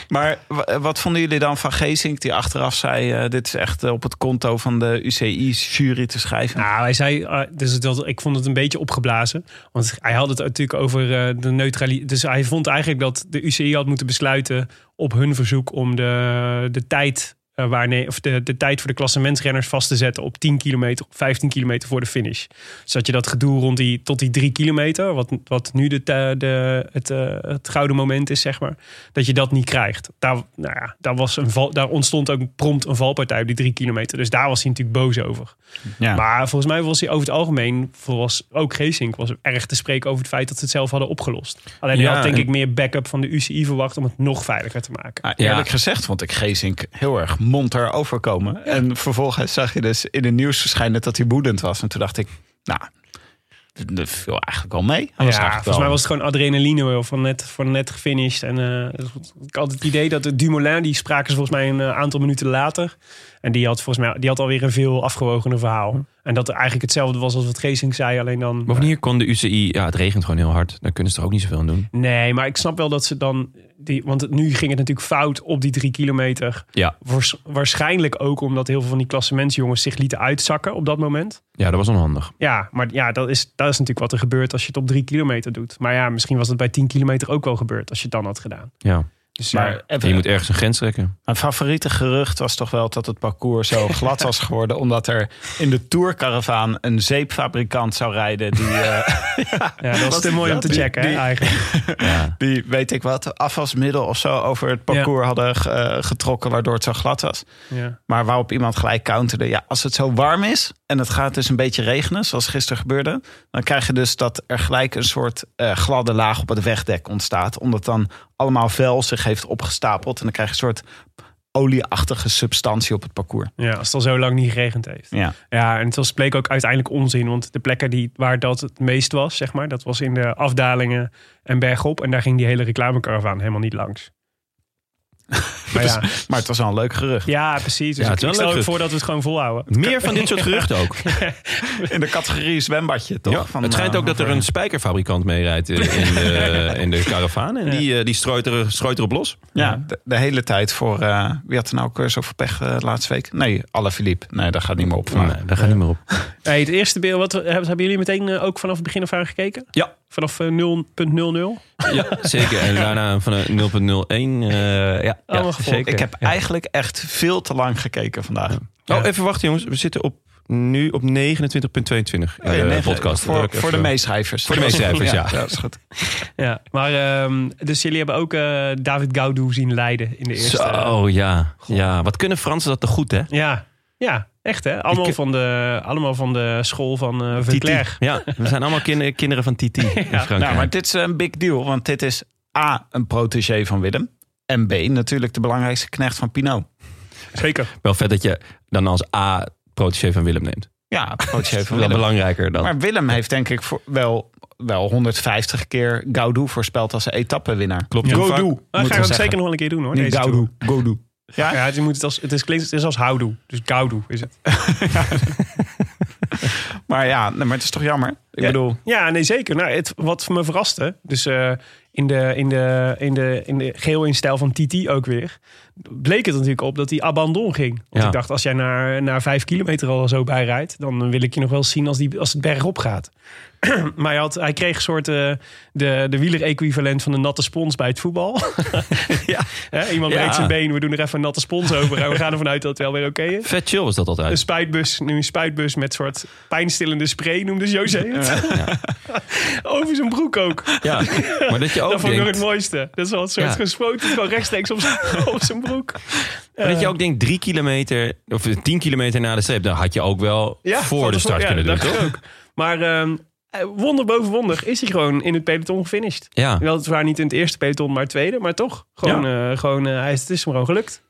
S5: Maar wa- wat vonden jullie dan van Geesink die achteraf zei... eh, dit is echt eh, op het konto van de UCI-jury te schrijven?
S2: Nou, hij zei, eh, dus het was- ik vond het een beetje opgeblazen. Want hij had het natuurlijk over eh, de neutraliteit. Dus hij vond eigenlijk dat de UCI had moeten besluiten op hun verzoek om de, de tijd. eh, waarne- of de, de tijd voor de klassementsrenners vast te zetten op 10 kilometer, of 15 kilometer voor de finish. Dus dat je dat gedoe rond die, tot die 3 kilometer, wat, wat nu de, te- de, het, eh, het gouden moment is, zeg maar, dat je dat niet krijgt. Daar, nou ja, daar, was een val, daar ontstond ook prompt een valpartij op die 3 kilometer. Dus daar was hij natuurlijk boos over.
S5: Ja.
S2: Maar volgens mij was hij over het algemeen, was ook Geesink, was erg te spreken over het feit dat ze het zelf hadden opgelost. Alleen hij
S1: Ja,
S2: had denk
S1: en-
S2: ik meer backup van de UCI verwacht om het nog veiliger te maken.
S5: Nou, eerlijk gezegd vond ik Geesink heel erg monter overkomen. En vervolgens zag je dus in het nieuws verschijnen dat hij boedend was. En toen dacht ik, nou, dat- dat viel eigenlijk wel mee. Hij was
S2: ja,
S5: eigenlijk
S2: volgens mij was het gewoon adrenaline wel, van net, van net gefinished. En eh, ik had het idee dat de Dumoulin, die spraken ze volgens mij een eh, aantal minuten later. En die had volgens mij die had alweer een veel afgewogener verhaal. En dat er eigenlijk hetzelfde was als wat Geesink zei, alleen dan...
S1: Bovendien hier kon de UCI, ja, het regent gewoon heel hard. Daar kunnen ze toch ook niet zoveel aan doen.
S2: Nee, maar ik snap wel dat ze dan... Die, want het- nu ging het natuurlijk fout op die drie kilometer.
S1: Ja,
S2: Waars- waarschijnlijk ook omdat heel veel van die klassementsjongens zich lieten uitzakken op dat moment.
S1: ja dat was onhandig.
S2: Ja, maar ja, dat is, dat is natuurlijk wat er gebeurt als je het op drie kilometer doet. Maar ja, misschien was het bij 10 kilometer ook wel gebeurd als je het dan had gedaan.
S1: Ja.
S2: Dus ja,
S5: Maar
S1: En je moet ergens een grens trekken.
S5: mijn favoriete gerucht was toch wel dat het parcours zo glad was geworden. Omdat er in de tourcaravaan een zeepfabrikant zou rijden. Die, eh,
S2: ja, dat is te mooi om te checken hè, eigenlijk.
S5: die weet ik wat, afwasmiddel of zo over het parcours hadden eh, getrokken. Waardoor het zo glad was.
S2: Ja.
S5: Maar waarop iemand gelijk counterde. Ja, als het zo warm is en het gaat dus een beetje regenen, zoals gisteren gebeurde. Dan krijg je dus dat er gelijk een soort eh, gladde laag op het wegdek ontstaat. Omdat dan allemaal vuil zich heeft opgestapeld. En dan krijg je een soort olieachtige substantie op het parcours.
S2: ja, als het al zo lang niet geregend heeft.
S5: Ja,
S2: Ja, en het was, bleek ook uiteindelijk onzin. Want de plekken die, waar dat het meest was, zeg maar, dat was in de afdalingen en bergop. En daar ging die hele reclamekaravaan helemaal niet langs. maar ja,
S1: Dus,
S5: maar het was wel een leuk gerucht.
S2: ja, precies. Dus
S1: Ja, het is wel
S2: ik, ik
S1: leuk
S2: stel ook
S1: gerucht.
S2: voor dat we het gewoon volhouden.
S1: Meer van dit soort geruchten ook.
S5: In de categorie zwembadje, toch?
S1: Ja,
S5: Van,
S1: het schijnt
S5: eh,
S1: ook dat er een spijkerfabrikant meerijdt eh, in de, in de karavaan. En die, eh, die strooit, er, strooit erop los.
S5: Ja, eh, de, de hele tijd voor... eh, wie had er nou ook weer zoveel pech eh, laatste week? Nee, Alaphilippe. Nee, dat gaat niet meer op.
S1: daar gaat niet meer op.
S2: Hey, het eerste beeld, wat, hebben jullie meteen eh, ook vanaf het begin af aan gekeken?
S1: Ja.
S2: Vanaf eh, 0.00?
S1: Ja, zeker. En daarna van eh, 0.01.
S5: Oh,
S1: eh, ja, ja,
S2: Allemaal gevolgd.
S1: zeker.
S5: Ik heb
S1: Ja.
S5: eigenlijk echt veel te lang gekeken vandaag.
S1: Oh, even wachten jongens. We zitten op, nu op 29.22 in
S5: Oh ja,
S1: de
S5: nee,
S1: podcast.
S5: Voor, voor de
S1: meeste.
S5: meeschrijvers.
S1: Voor de meeschrijvers, ja.
S5: dat is goed.
S2: Ja, maar ehm, dus jullie hebben ook eh, David Gaudu zien leiden in de eerste.
S1: Zo, ja. ja. Wat kunnen Fransen dat toch goed, hè?
S2: Ja, ja echt hè. Allemaal,
S1: Ik-
S2: van, de, allemaal van de school van eh Verclair.
S1: Ja, we zijn allemaal kinder- kinderen van Titi in Frankrijk.
S5: Nou, maar dit is een big deal, want dit is A, een protégé van Willem. En B, natuurlijk de belangrijkste knecht van Pinot.
S2: Zeker.
S1: Wel vet dat je dan als A protégé van Willem neemt.
S5: Ja, protégé
S1: Dat
S5: van
S1: wel
S5: Willem.
S1: belangrijker dan.
S5: Maar Willem heeft denk ik voor- wel, wel 150 keer Gaudou voorspeld als etappewinnaar.
S1: Klopt.
S2: Ja.
S1: Hoe vaak-
S5: Godoe.
S2: Dat ga ik ook
S5: zeggen.
S2: zeker nog wel een keer doen hoor.
S5: Nee,
S2: deze
S5: Gaudu.
S2: tour.
S5: Godoe. Ja?
S2: Ja, het, moet het, als, het, is, klinkt- het is als houdoe. Dus Gaudu is het.
S5: Maar ja, nee, maar het is toch jammer? Ik bedoel,
S2: Ja, nee zeker. Nou, het, wat me verraste, dus eh, in, de, in, de, in, de, in de geel in stijl van Titi ook weer, bleek het natuurlijk op dat hij abandon ging. Want
S1: Ja.
S2: ik dacht, als jij naar, naar vijf kilometer al zo bij rijdt, dan wil ik je nog wel zien als, die, als het bergop gaat. maar hij, had, hij kreeg een soort eh, de, de wieler-equivalent van de natte spons bij het voetbal. ja. Hè, iemand
S1: Ja.
S2: breekt zijn been, we doen er even een natte spons over en we gaan ervan uit dat het wel weer oké is.
S1: Vet chill was dat
S2: Een
S1: altijd.
S2: spuitbus, nu een spuitbus met soort pijnstillende spray, noemde José het. Over zijn broek ook.
S1: Ja. Maar dat je
S2: dat
S1: ook
S2: vond ik nog het
S1: denkt...
S2: mooiste. Dat is wel een soort
S1: Ja.
S2: gespoten, gewoon rechtstreeks op zijn, op zijn broek.
S1: Maar dat je ook denkt, drie kilometer of tien kilometer na de streep, dan had je ook wel voor
S2: dat
S1: de
S2: is wel-
S1: start
S2: ja,
S1: kunnen doen,
S2: dat
S1: toch?
S2: dacht ik ook. Maar ehm, eh, wonder boven wonder is hij gewoon in het peloton gefinished.
S1: Ja.
S2: Weliswaar niet in het eerste peloton, maar het tweede. Maar toch, gewoon, eh, gewoon, eh, hij is, het is hem gewoon gelukt.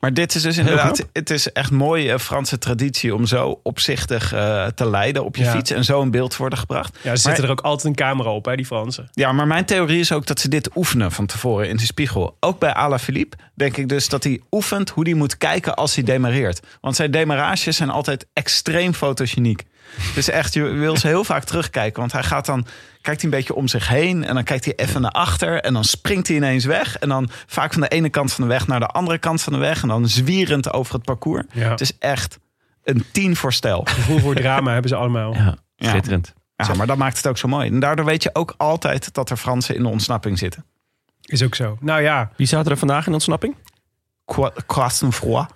S5: maar dit is dus inderdaad, het is echt mooie eh, Franse traditie om zo opzichtig eh, te leiden op je
S2: Ja.
S5: fiets en zo in beeld te worden gebracht.
S2: Ja, ze
S5: Maar-
S2: zitten er ook altijd een camera op, hè, die Fransen.
S5: Ja, maar mijn theorie is ook dat ze dit oefenen van tevoren in de spiegel. Ook bij Alaphilippe denk ik dus dat hij oefent hoe hij moet kijken als hij demareert. Want zijn demarages zijn altijd extreem fotogeniek. Dus echt, je wil ze heel vaak terugkijken. Want hij gaat dan, kijkt hij een beetje om zich heen en dan kijkt hij even naar achter. En dan springt hij ineens weg. En dan vaak van de ene kant van de weg naar de andere kant van de weg. En dan zwierend over het parcours.
S2: Ja.
S5: Het is echt een tien voor stijl.
S2: Gevoel voor drama hebben ze allemaal.
S1: Ja,
S5: Ja.
S1: schitterend.
S5: Ja, maar dat maakt het ook zo mooi. En daardoor weet je ook altijd dat er Fransen in de ontsnapping zitten.
S2: Is ook zo. Nou ja,
S1: Wie zaten er vandaag in ontsnapping?
S5: Qua- Croissant-froid.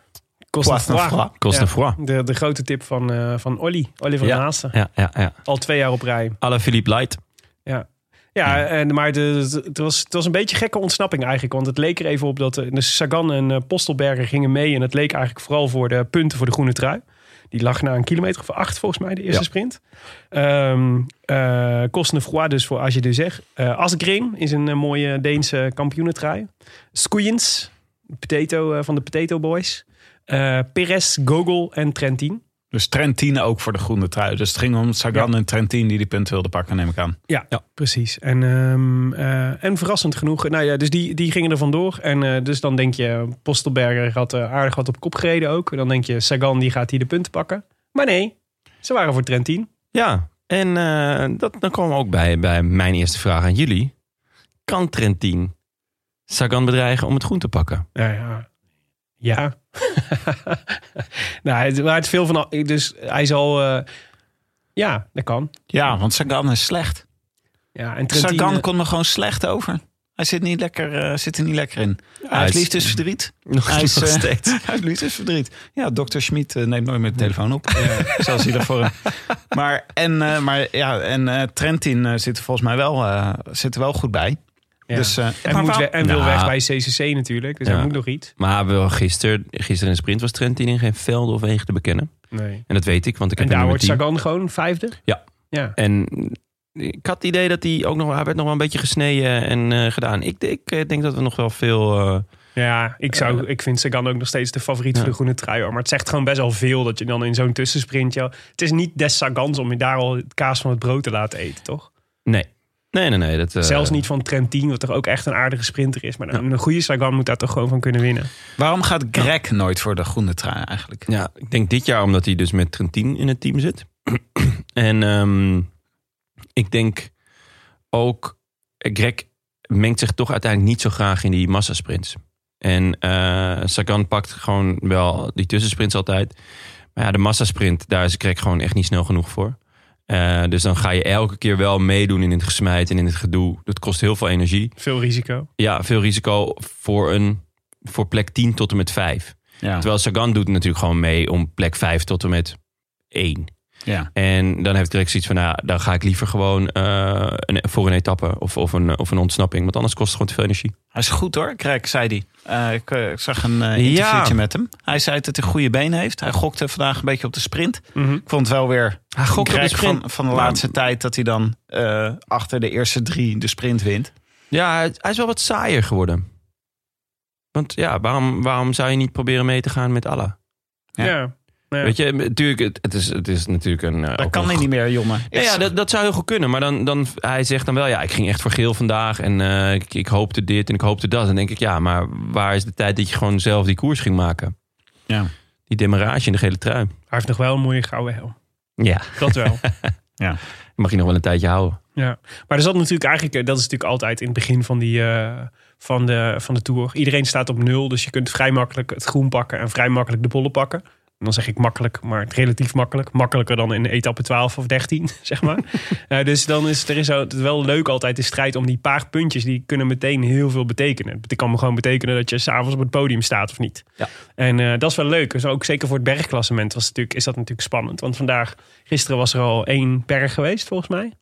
S5: Poisson-froid.
S1: Cosnefroy.
S2: De, de grote tip van, eh van Olly, Oliver
S1: Ja.
S2: Naasten.
S1: Ja, ja, ja.
S2: Al twee jaar op rij.
S1: Alle Philippe Light.
S2: Ja, ja en, maar de, de- het, was, het was een beetje gekke ontsnapping eigenlijk. Want het leek er even op dat eh, de Sagan en eh, Postelberger gingen mee. En het leek eigenlijk vooral voor de punten voor de groene trui. Die lag na een kilometer of acht volgens mij, de eerste
S1: Ja.
S2: sprint. Ehm eh Cosnefroid dus voor Als je dus zegt. Eh Asgreen is een eh, mooie Deense kampioenentrui. Skoeiens, potato, eh, van de Potato Boys. Eh Perez, Gogol en Trentin.
S5: Dus Trentin ook voor de groene trui. Dus het ging om Sagan
S2: Ja.
S5: en Trentin die die punten wilden pakken, neem ik aan.
S2: Ja,
S1: Ja.
S2: precies. En, ehm, eh, en verrassend genoeg. Nou ja, dus die, die gingen er vandoor. En eh, dus dan denk je, Postelberger had eh, aardig wat op kop gereden ook. Dan denk je, Sagan die gaat hier de punten pakken. Maar nee, ze waren voor Trentin.
S1: Ja, en eh, dat, dan komen we ook bij, bij mijn eerste vraag aan jullie. Kan Trentin Sagan bedreigen om het groen te pakken?
S2: Nou ja. Ja. nou, het, maar het veel van... al- Dus hij zal... eh, ja, dat kan.
S5: Ja, want Sagan is slecht.
S2: Ja, en Trentin... eh,
S5: Sagan komt er gewoon slecht over. Hij zit, niet lekker, eh, zit er niet lekker in. hij
S1: hij
S5: heeft
S1: is-
S5: liefdesverdriet.
S1: Nog,
S5: Hij is,
S1: nog
S5: eh,
S1: steeds.
S5: Hij heeft liefdesverdriet. Ja, dokter Schmid eh, neemt nooit meer de telefoon op. Zelfs hij daarvoor. Maar, en, eh, maar, ja, en eh, Trentin eh, zit er volgens mij wel, eh, zit er wel goed bij.
S2: ja.
S5: Dus, eh,
S2: en
S5: maar
S2: moet
S5: waar-
S2: we- en wil
S1: Nou.
S2: weg bij CCC natuurlijk. Dus hij
S1: Ja.
S2: moet nog iets.
S1: Maar wel gisteren, gisteren in de sprint was Trentin in geen velden of wegen te bekennen.
S2: Nee.
S1: En dat weet ik, want ik
S2: En
S1: heb
S2: daar
S1: hem
S2: wordt Sagan gewoon vijfde?
S1: Ja.
S2: Ja.
S1: En eh, ik had het idee dat hij ook nog, hij werd nog wel een beetje gesneden en eh, gedaan. Ik, ik eh, denk dat we nog wel veel... eh,
S2: Ja, ik, zou, ik vind Sagan ook nog steeds de favoriet voor de groene trui. hoor. Maar het zegt gewoon best wel veel dat je dan in zo'n tussensprint... joh, het is niet des Sagans om je daar al het kaas van het brood te laten eten, toch?
S1: nee. Nee, nee, nee. Dat, eh,
S2: Zelfs niet van Trentin, wat toch ook echt een aardige sprinter is. Maar een, een goede Sagan moet daar toch gewoon van kunnen winnen.
S5: waarom gaat Greg nooit voor de groene trui eigenlijk?
S1: Ja, ik denk dit jaar omdat hij dus met Trentin in het team zit. en ehm, ik denk ook, eh, Greg mengt zich toch uiteindelijk niet zo graag in die massasprints. En eh, Sagan pakt gewoon wel die tussensprints altijd. Maar ja, de massasprint, daar is Greg gewoon echt niet snel genoeg voor. Eh, dus dan ga je elke keer wel meedoen in het gesmijt en in het gedoe. Dat kost heel veel energie.
S2: Veel risico.
S1: Ja, veel risico voor, een, voor plek 10 tot en met 5.
S5: Ja.
S1: Terwijl Sagan doet natuurlijk gewoon mee om plek 5 tot en met 1.
S5: ja.
S1: En dan heeft Greg zoiets van, nou, ja, dan ga ik liever gewoon eh, een, voor een etappe of, of, een, of een ontsnapping. Want anders kost het gewoon te veel energie.
S5: Hij is goed hoor, Krek, zei hij. Eh, ik, eh, ik zag een eh, interviewtje
S1: Ja.
S5: met hem. Hij zei dat hij goede benen heeft. Hij gokte vandaag een beetje op de sprint. Ik vond het wel weer
S1: Hij gokt op de
S5: Krek
S1: sprint.
S5: van, van Mhm. de laatste tijd dat hij dan eh, achter de eerste drie de sprint wint.
S1: Ja, hij, hij is wel wat saaier geworden. Want ja, waarom, waarom zou je niet proberen mee te gaan met Allah?
S5: Ja.
S2: Ja. Ja.
S1: Weet je, natuurlijk, het, het, is, het is natuurlijk een... eh, ook
S5: Dat
S1: een
S5: kan hij
S1: go-
S5: niet meer, jongen.
S1: Ja, ja, dat, dat zou heel goed kunnen. Maar dan, dan, hij zegt dan wel, ja, ik ging echt voor geel vandaag. En eh, ik, ik hoopte dit en ik hoopte dat. En dan denk ik, ja, maar waar is de tijd dat je gewoon zelf die koers ging maken?
S5: Ja.
S1: Die demarrage in de gele trui.
S2: Hij heeft nog wel een mooie gouden helm.
S1: Ja.
S2: Dat wel.
S1: Mag je nog wel een tijdje houden.
S2: Ja, maar er zat natuurlijk eigenlijk, eh, dat is natuurlijk altijd in het begin van, die, eh, van, de, van de tour. Iedereen staat op nul, dus je kunt vrij makkelijk het groen pakken en vrij makkelijk de bollen pakken. En dan zeg ik makkelijk, maar relatief makkelijk. Makkelijker dan in etappe 12 of 13, zeg maar. Eh, dus dan is er is al- het wel leuk altijd de strijd om die paar puntjes. Die kunnen meteen heel veel betekenen. Het kan gewoon betekenen dat je s'avonds op het podium staat of niet.
S1: Ja.
S2: En eh, dat is wel leuk. Dus ook zeker voor het bergklassement was het natuurlijk, is dat natuurlijk spannend. Want vandaag, gisteren was er al één berg geweest volgens mij.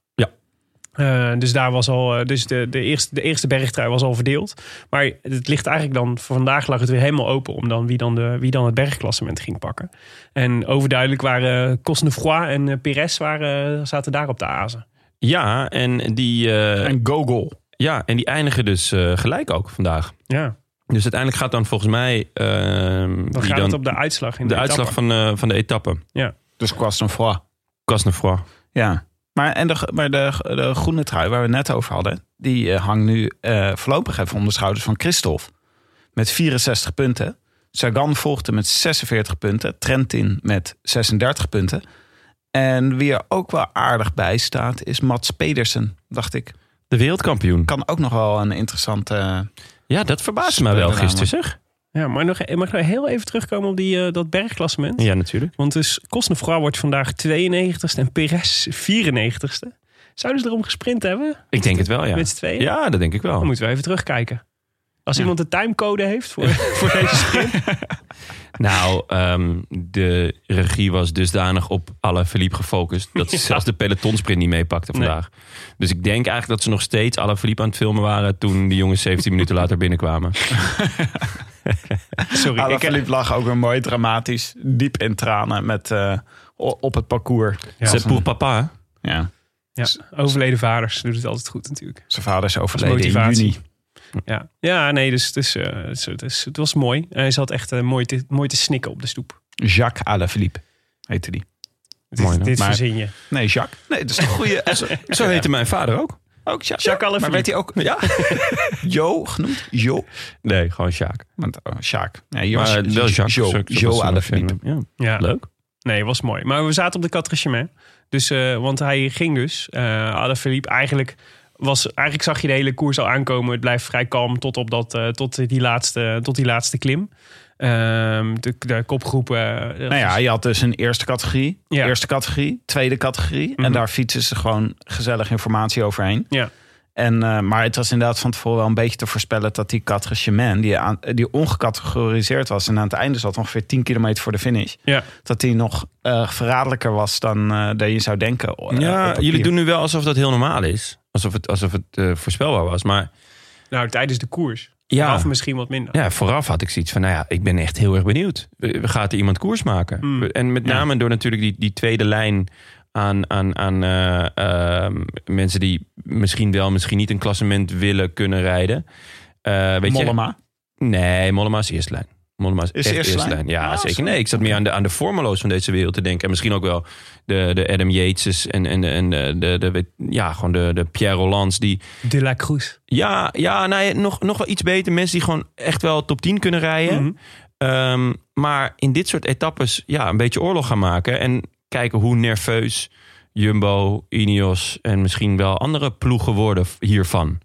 S2: Eh, dus daar was al, eh, dus de, de, eerste, de eerste bergtrui was al verdeeld. Maar het ligt eigenlijk dan, voor vandaag lag het weer helemaal open om dan wie dan, de, wie dan het bergklassement ging pakken. En overduidelijk waren eh, Cosnefroid en eh, Pires waren, eh, zaten daar op de azen.
S1: Ja, en die, eh,
S5: Een go-goal.
S1: ja, en die eindigen dus eh, gelijk ook vandaag.
S2: Ja,
S1: Dus uiteindelijk gaat dan volgens mij... ehm
S2: dan
S1: wie
S2: gaat
S1: dan
S2: het op de uitslag. In
S1: de,
S2: de,
S1: uitslag
S2: etappe.
S1: van, eh, van de etappe.
S5: Dus Quasnefroid.
S1: Casnefroid.
S5: Ja. Maar, en de, maar de, de groene trui waar we het net over hadden, die eh, hangt nu eh, voorlopig even om de schouders van Christophe. Met 64 punten. Sagan volgde met 46 punten. Trentin met 36 punten. En wie er ook wel aardig bij staat, is Mats Pedersen, dacht ik.
S1: De wereldkampioen.
S5: Kan ook nog wel een interessante...
S1: Ja, dat verbaasde mij wel
S5: Speler
S1: gisteren, zeg.
S2: Ja, maar nog, mag ik nou heel even terugkomen op die, eh, dat bergklassement?
S1: Ja, natuurlijk.
S2: Want dus Cosnefroid wordt vandaag 92ste en Pires 94ste. Zouden ze erom gesprint hebben?
S1: Ik denk het wel, ja.
S2: Met z'n tweeën?
S1: Ja, dat denk ik
S2: Dan
S1: wel.
S2: Oh, moeten we even terugkijken. Als iemand de timecode heeft voor, voor deze sprint.
S1: Nou, ehm, de regie was dusdanig op alle Philippe gefocust... dat ze zelfs de pelotonsprint niet meepakte
S2: Nee.
S1: vandaag. Dus ik denk eigenlijk dat ze nog steeds alle Philippe aan het filmen waren... toen die jongens 17 minuten later binnenkwamen.
S2: Sorry, ik,
S5: Alaphilippe lag ook weer mooi dramatisch, diep in tranen met, eh, o- op het parcours.
S2: Ja.
S1: C'est pour papa, hè?
S5: Ja,
S2: ja, overleden vaders doen het altijd goed natuurlijk.
S5: zijn vader is overleden in
S2: motivatie.
S5: juni.
S2: Ja, ja nee, dus, dus, eh, het is- het is- het was mooi. En hij zat echt eh, mooi, te, mooi te snikken op de stoep.
S5: Jacques Alaphilippe heette die.
S2: Dit,
S1: Mooi, hè?
S2: dit
S5: Maar-
S2: verzin je.
S5: Nee, Jacques. Nee, dat is een goede.
S1: Zo heette mijn vader ook.
S5: ook Jacques.
S2: Jacques Alaphilippe.
S5: Maar werd hij ook ja? Jo genoemd? Jo.
S1: Nee, gewoon Sjaak.
S5: Want, oh, Jacques. Nee, Jo-
S1: Maar wel Jacques.
S5: Jo,
S1: zo- zo-
S5: jo,
S1: zo- zo-
S5: Alaphilippe.
S1: Ja.
S2: Ja.
S1: Leuk.
S2: Nee, was mooi. Maar we zaten op de Catricement. Dus, eh, want hij ging dus. eh Alaphilippe eigenlijk... Was, eigenlijk zag je de hele koers al aankomen. Het blijft vrij kalm tot, op dat, eh, tot, die, laatste, tot die laatste klim. Ehm, de, de kopgroep... eh,
S5: Nou ja, je had dus een eerste categorie,
S2: Ja.
S5: eerste categorie, tweede categorie.
S1: Mhm.
S5: En daar fietsen ze gewoon gezellig informatie overheen.
S2: ja.
S5: En, eh, maar het was inderdaad van tevoren wel een beetje te voorspellen dat die categorie die, aan- die ongecategoriseerd was en aan het einde zat ongeveer 10 kilometer voor de finish,
S2: Ja.
S5: dat die nog eh, verraderlijker was dan, eh, dan je zou denken. eh, op
S1: Ja,
S5: papier.
S1: jullie doen nu wel alsof dat heel normaal is. Alsof het, alsof het eh, voorspelbaar was. Maar
S2: Nou, tijdens de koers.
S1: ja,
S2: Of misschien wat minder.
S1: ja, vooraf had ik zoiets van, nou ja, ik ben echt heel erg benieuwd. Eh, Gaat er iemand koers maken?
S5: Hmm.
S1: En met name door natuurlijk die, die tweede lijn aan, aan, aan eh, ehm, mensen die misschien wel, misschien niet een klassement willen kunnen rijden. Eh, weet je,
S5: Mollema.
S1: Nee, Mollema is eerste lijn. Mollema is,
S5: Is
S1: echt
S5: eerste
S1: eerste lijn.
S5: lijn?
S1: Ja,
S5: Ah,
S1: zeker.
S5: zo.
S1: Nee, ik zat meer aan de, aan de formeloos van deze wereld te denken. En misschien ook wel de, de Adam Yates en, en, en de, de, de, weet- ja, gewoon de, de Pierre Rollands. Die,
S2: De la Cruz.
S1: ja, ja nee, nog, nog wel iets beter. Mensen die gewoon echt wel top 10 kunnen rijden. Ehm, maar in dit soort etappes ja, een beetje oorlog gaan maken. En kijken hoe nerveus Jumbo, Ineos en misschien wel andere ploegen worden v- hiervan.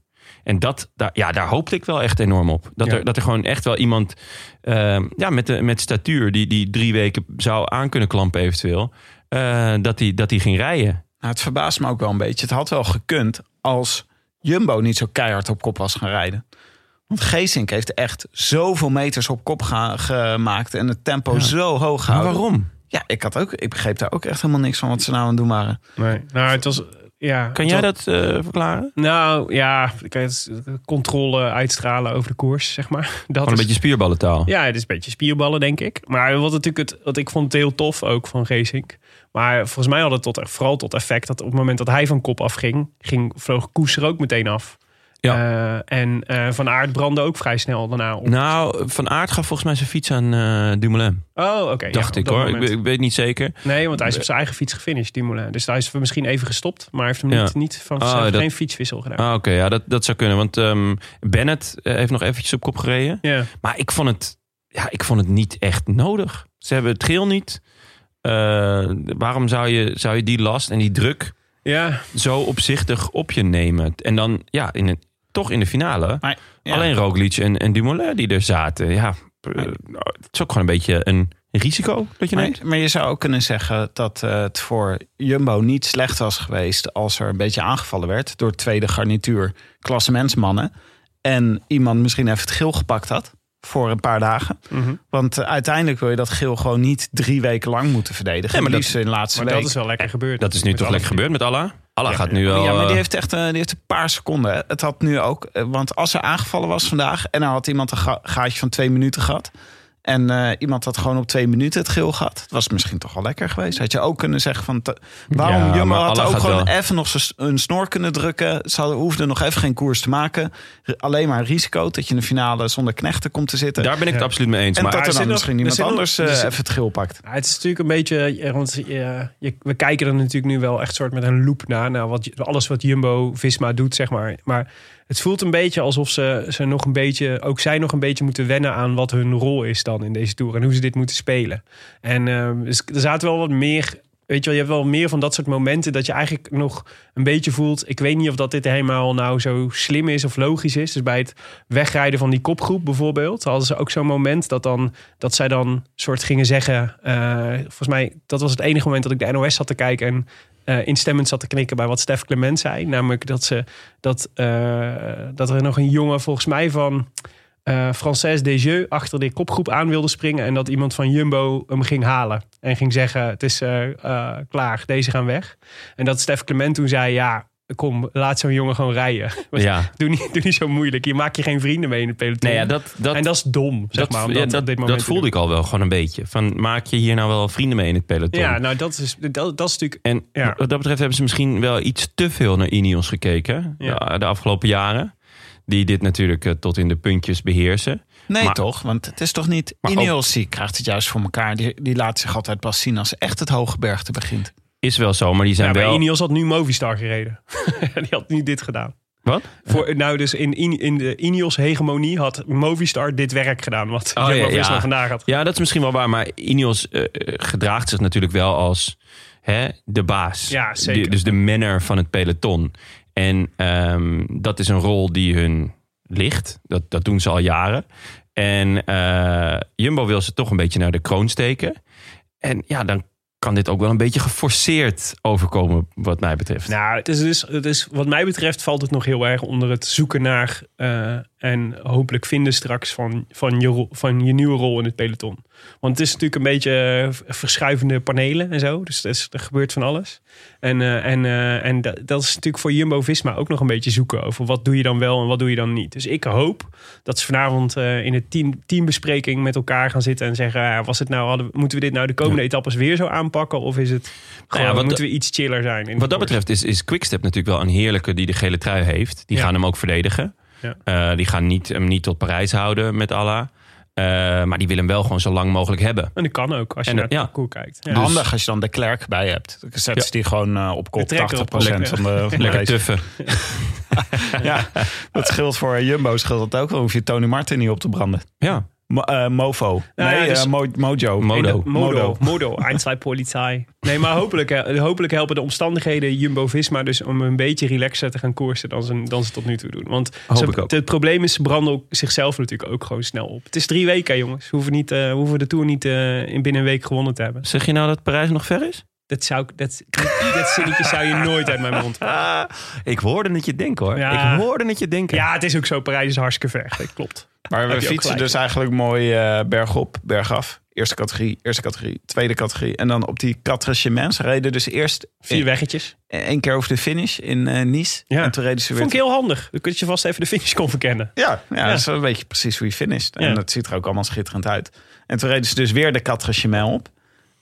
S1: En dat, daar, ja, daar hoopte ik wel echt enorm op. Dat,
S2: Ja.
S1: er, dat er gewoon echt wel iemand eh, ja, met, de, met statuur, die, die drie weken zou aan kunnen klampen eventueel, eh, dat, die, dat die ging rijden.
S5: Nou, het verbaast me ook wel een beetje. Het had wel gekund als Jumbo niet zo keihard op kop was gaan rijden. Want Geesink heeft echt zoveel meters op kop ga- gemaakt en het tempo zo hoog
S1: Maar
S5: gehouden.
S1: waarom?
S5: Ja, ik, had ook, ik begreep daar ook echt helemaal niks van wat ze nou aan het doen waren.
S2: Nee. Nou, het was... Ja,
S1: Kan
S2: het
S1: jij
S2: was-
S1: dat eh, verklaren?
S2: Nou ja, kijk, het is controle uitstralen over de koers, zeg maar. Dat
S1: Gewoon
S2: is,
S1: een beetje spierballentaal.
S2: Ja, het is een beetje spierballen, denk ik. Maar wat, natuurlijk het, wat ik vond het heel tof ook van Racing. Maar volgens mij had het tot, e- vooral tot effect dat op het moment dat hij van kop afging, ging, vloog Koes er ook meteen af. Eh, en eh, Van Aert brandde ook vrij snel daarna op.
S1: Nou, Van Aert gaf volgens mij zijn fiets aan eh Dumoulin.
S2: oh, oké. ja,
S1: Dacht
S2: op
S1: ik
S2: dat
S1: hoor. Ik,
S2: moment.
S1: weet- ik weet niet zeker.
S2: Nee, want hij is op zijn eigen fiets gefinished, Dumoulin. Dus hij is misschien even gestopt, maar hij heeft hem
S1: Ja.
S2: niet, niet van
S1: Oh,
S2: hij heeft
S1: dat-
S2: geen fietswissel gedaan.
S1: Ah, Oké, ja, dat, dat zou kunnen. Want ehm, Bennett eh, heeft nog eventjes op kop gereden.
S2: Ja.
S1: Maar ik vond het, ja, ik vond het niet echt nodig. Ze hebben het geel niet. Eh, waarom zou je, zou je die last en die druk
S2: ja,
S1: zo opzichtig op je nemen? En dan, ja, in een, toch in de finale.
S5: Maar, ja.
S1: Alleen Roglic en, en Dumoulin die er zaten. Ja, eh, nou, het is ook gewoon een beetje een risico dat je
S5: Maar,
S1: neemt.
S5: maar je zou ook kunnen zeggen dat eh, het voor Jumbo niet slecht was geweest als er een beetje aangevallen werd door tweede garnituur klassementsmannen. En iemand misschien even het geel gepakt had voor een paar dagen.
S1: Mhm.
S5: Want eh, uiteindelijk wil je dat geel gewoon niet drie weken lang moeten verdedigen.
S1: Nee, maar
S5: maar
S1: dat-
S5: liefst in de laatste
S2: maar
S5: week.
S2: dat is wel lekker gebeurd.
S1: Eh, Dat is nu
S2: Met
S1: toch
S2: alle Oh,
S1: lekker gebeurd met Allah? Allah gaat nu wel...
S5: Ja, maar die
S1: eh,
S5: heeft echt eh, die heeft een paar seconden. hè. Het had nu ook, eh, want als er aangevallen was vandaag en er had iemand een ga- gaatje van twee minuten gehad. En eh, iemand had gewoon op twee minuten het geel gehad. Dat was misschien toch wel lekker geweest. Had je ook kunnen zeggen van... te- waarom
S1: Ja,
S5: Jumbo
S1: maar
S5: had
S1: Allah
S5: ook
S1: gaat
S5: gewoon
S1: wel.
S5: even nog z'n s- een snor kunnen drukken. Ze hadden, hoefden nog even geen koers te maken. R- alleen maar risico dat je in de finale zonder knechten komt te zitten.
S1: daar ben ik het
S2: Ja.
S1: absoluut mee eens.
S5: en
S1: maar
S5: dat
S2: er
S5: er
S2: zit
S5: dan
S2: nog-
S5: misschien
S2: er
S5: iemand
S2: zit nog-
S5: anders
S2: er
S5: eh,
S2: zit-
S5: even het geel pakt.
S2: Ja, het is natuurlijk een beetje, eh, want eh, je, we kijken er natuurlijk nu wel echt soort met een loop naar, naar wat, alles wat Jumbo Visma doet, zeg maar. Maar het voelt een beetje alsof ze, ze nog een beetje, ook zij nog een beetje moeten wennen aan wat hun rol is dan in deze tour en hoe ze dit moeten spelen. En eh, dus er zaten wel wat meer, weet je wel, je hebt wel meer van dat soort momenten dat je eigenlijk nog een beetje voelt, ik weet niet of dat dit helemaal nou zo slim is of logisch is. Dus bij het wegrijden van die kopgroep bijvoorbeeld, hadden ze ook zo'n moment dat dan dat zij dan soort gingen zeggen. eh, volgens mij, dat was het enige moment dat ik de NOS zat te kijken en eh, instemmend zat te knikken bij wat Stef Clement zei. Namelijk dat, ze, dat, eh, dat er nog een jongen, volgens mij van eh Française Desjeux, achter de kopgroep aan wilde springen. En dat iemand van Jumbo hem ging halen. En ging zeggen: Het is eh, eh, klaar, deze gaan weg. En dat Stef Clement toen zei: Ja. Kom, laat zo'n jongen gewoon rijden.
S1: Ja.
S2: Doe, niet, doe niet zo moeilijk. Je maakt je geen vrienden mee in het peloton.
S1: Nee, ja, dat, dat,
S2: en dat is dom, zeg
S1: dat,
S2: maar. om
S1: ja,
S2: dat,
S1: dat,
S2: op dit
S1: dat
S2: moment te
S1: voelde
S2: doen.
S1: ik al wel gewoon een beetje. Van, maak je hier nou wel vrienden mee in het peloton?
S2: Ja, nou dat is, dat, dat is natuurlijk...
S1: En
S2: Ja.
S1: wat dat betreft hebben ze misschien wel iets te veel naar Ineos gekeken eh,
S2: Ja.
S1: de, de afgelopen jaren. Die dit natuurlijk eh, tot in de puntjes beheersen.
S5: Nee,
S1: Maar-
S5: toch? Want het is toch niet.
S1: Maar ook-
S5: Ineos die krijgt het juist voor elkaar. Die, die laat zich altijd pas zien als echt het hoge bergte begint.
S1: Is wel zo, maar die zijn
S2: Ja, bij
S1: wel...
S2: Ineos had nu Movistar gereden. Die had nu dit gedaan.
S1: Wat?
S2: Voor, nou, dus in, in, in de Ineos-hegemonie had Movistar dit werk gedaan. Wat
S1: Oh,
S2: Jumbo
S1: ja, ja.
S2: Visma vandaag had.
S1: Ja, dat is misschien wel waar. Maar Ineos eh, eh, gedraagt zich natuurlijk wel als hè, de baas.
S2: Ja, zeker.
S1: De- dus de manner van het peloton. En ehm, dat is een rol die hun ligt. Dat, dat doen ze al jaren. En eh, Jumbo wil ze toch een beetje naar de kroon steken. En ja, dan kan dit ook wel een beetje geforceerd overkomen, wat mij betreft.
S2: Nou, het is dus, het is, wat mij betreft valt het nog heel erg onder het zoeken naar eh, en hopelijk vinden straks van, van, je, ro- van je nieuwe rol in het peloton. Want het is natuurlijk een beetje eh, verschuivende panelen en zo. Dus er, is- er gebeurt van alles. En, eh, en, eh, en dat, dat is natuurlijk voor Jumbo Visma ook nog een beetje zoeken over wat doe je dan wel en wat doe je dan niet. Dus ik hoop dat ze vanavond eh, in de team, teambespreking met elkaar gaan zitten en zeggen: ah, was het nou, hadden, we- moeten we dit nou de komende etappes weer zo aanpakken? Of is het gewoon,
S1: Nou wat-
S2: moeten we iets chiller zijn? in de
S1: Wat dat
S2: koers?
S1: betreft is, is Quickstep natuurlijk wel een heerlijke die de gele trui heeft. Die
S2: Ja.
S1: gaan hem ook verdedigen.
S2: Ja.
S1: Eh, die gaan niet, hem niet tot Parijs houden met Allah. Eh, maar die willen hem wel gewoon zo lang mogelijk hebben.
S2: En dat kan ook als je
S1: En
S2: naar
S1: dat-
S2: de
S1: ja. Dus-
S2: parcours kijkt. Ja.
S5: Handig als je dan de klerk bij hebt. Dan zet ze die gewoon eh, op
S2: De
S5: kop 80%
S2: trekker op kop, ja.
S5: van de, van de
S1: Lekker
S5: race.
S1: tuffen.
S5: eh, Ja, dat scheelt voor Jumbo scheelt dat ook. Dan hoef je Tony Martin niet op te branden.
S1: Ja.
S5: Mo- eh, Mofo.
S2: Nou
S5: nee,
S2: ja, dus-
S5: eh, Mo- Mojo.
S1: Modo.
S2: Modo. Modo. Modo. Einzelpolizei. Nee, maar hopelijk, eh, hopelijk helpen de omstandigheden Jumbo-Visma dus om een beetje relaxer te gaan koersen dan ze, dan ze tot nu toe doen. Want
S1: Hoop
S2: ze-
S1: ik ook.
S2: het probleem is, ze branden ook zichzelf natuurlijk ook gewoon snel op. Het is drie weken, jongens. We hoeven, niet, eh, we hoeven de Tour niet eh, in binnen een week gewonnen te hebben.
S1: Zeg je nou dat Parijs nog ver is?
S2: Dat, zou, ik- dat, dat zinnetje zou je nooit uit mijn mond
S1: Ah, ik hoorde het je denken hoor.
S2: Ja.
S1: Ik hoorde het je denken.
S2: Ja, het is ook zo. Parijs is hartstikke ver. Dat klopt.
S5: Maar we
S2: Heb je ook
S5: fietsen
S2: gelijk.
S5: dus eigenlijk mooi eh bergop, bergaf. Eerste categorie, eerste categorie, tweede categorie. En dan op die catrachements reden dus eerst
S2: Vier weggetjes.
S5: één keer over de finish in eh, Nice.
S2: Ja.
S5: En toen reden ze weer...
S2: Vond ik heel handig. Dan kun je vast even de finish kon verkennen.
S5: Ja, ja,
S2: Ja.
S5: dat is wel een beetje precies hoe je finisht. En
S2: Ja.
S5: dat ziet er ook allemaal schitterend uit. En toen reden ze dus weer de catrachemel op.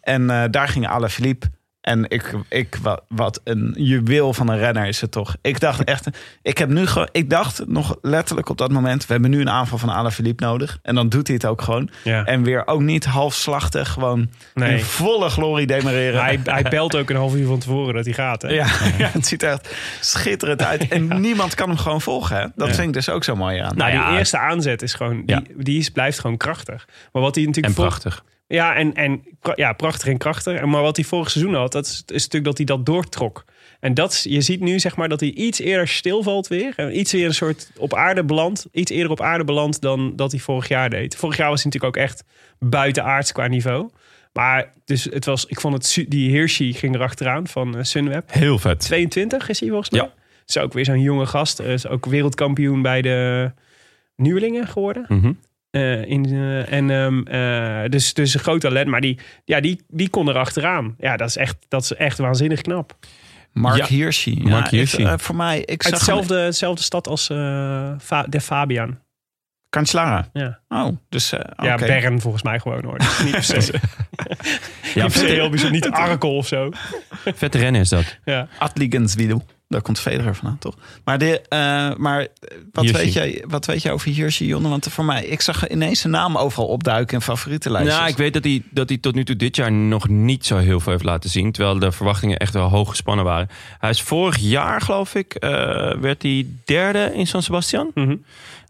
S5: En eh, daar ging Alaphilippe. En ik, ik, wa- wat een juweel van een renner is het toch. Ik dacht echt, ik, heb nu ge- ik dacht nog letterlijk op dat moment... we hebben nu een aanval van Alaphilippe nodig. En dan doet hij het ook gewoon.
S2: Ja.
S5: En weer ook niet halfslachtig, gewoon
S2: Nee.
S5: in volle glorie demareren.
S2: Hij, hij belt ook een half uur van tevoren dat hij gaat. Hè?
S5: ja, ja, het ziet er echt schitterend uit. En niemand kan hem gewoon volgen. Hè? Dat vind ik dus ook zo mooi aan.
S2: Nou,
S1: Ja.
S2: die eerste aanzet is gewoon, die, die is, blijft gewoon krachtig. Maar wat hij
S1: En
S2: natuurlijk vol-
S1: prachtig.
S2: Ja, en, en pra- ja, prachtig en krachtig. En Maar wat hij vorig seizoen had, dat is, is natuurlijk dat hij dat doortrok. En dat, is- je ziet nu zeg maar dat hij iets eerder stilvalt weer. En iets weer een soort op aarde belandt. Iets eerder op aarde belandt dan dat hij vorig jaar deed. Vorig jaar was hij natuurlijk ook echt buitenaards qua niveau. Maar dus het was, ik vond het, su- die Hirschi ging erachteraan van eh, Sunweb.
S1: Heel vet.
S2: 22 is hij volgens mij.
S1: Ja.
S2: Is ook weer zo'n jonge gast. Eh, Is ook wereldkampioen bij de nieuwelingen geworden.
S1: Mhm.
S2: Eh, in, eh, en, ehm, eh, dus, dus een groot talent. Maar die, ja, die, die kon erachteraan. Ja, dat is echt, dat is echt waanzinnig knap.
S5: Mark
S1: Ja.
S5: Hirschi.
S1: Mark
S5: ik-
S1: Hirschi.
S5: eh, voor mij, ik
S2: Uit
S5: zag hem-
S2: dezelfde, dezelfde stad als eh, Fa- de Fabian.
S5: Kanslaren.
S2: Ja,
S5: Oh, dus eh
S2: ja
S5: oké.
S2: Bern volgens mij gewoon hoor. Niet per se, niet
S1: Ja,
S2: per se
S1: vet,
S2: heel bijzonder. Niet Arkel of zo.
S1: vet rennen is dat.
S2: Ja.
S5: Adligenswiedel. Daar komt Federer vandaan, toch? Maar, de, eh, maar eh, wat,
S1: Hirschi.
S5: weet jij, wat weet jij over Hirschi, Jonne? Want voor mij, ik zag ineens zijn naam overal opduiken in favorietenlijstjes.
S1: Nou, ik weet dat hij, dat hij tot nu toe dit jaar nog niet zo heel veel heeft laten zien. Terwijl de verwachtingen echt wel hoog gespannen waren. Hij is vorig jaar, geloof ik, eh, werd hij derde in San Sebastian.
S2: Mhm.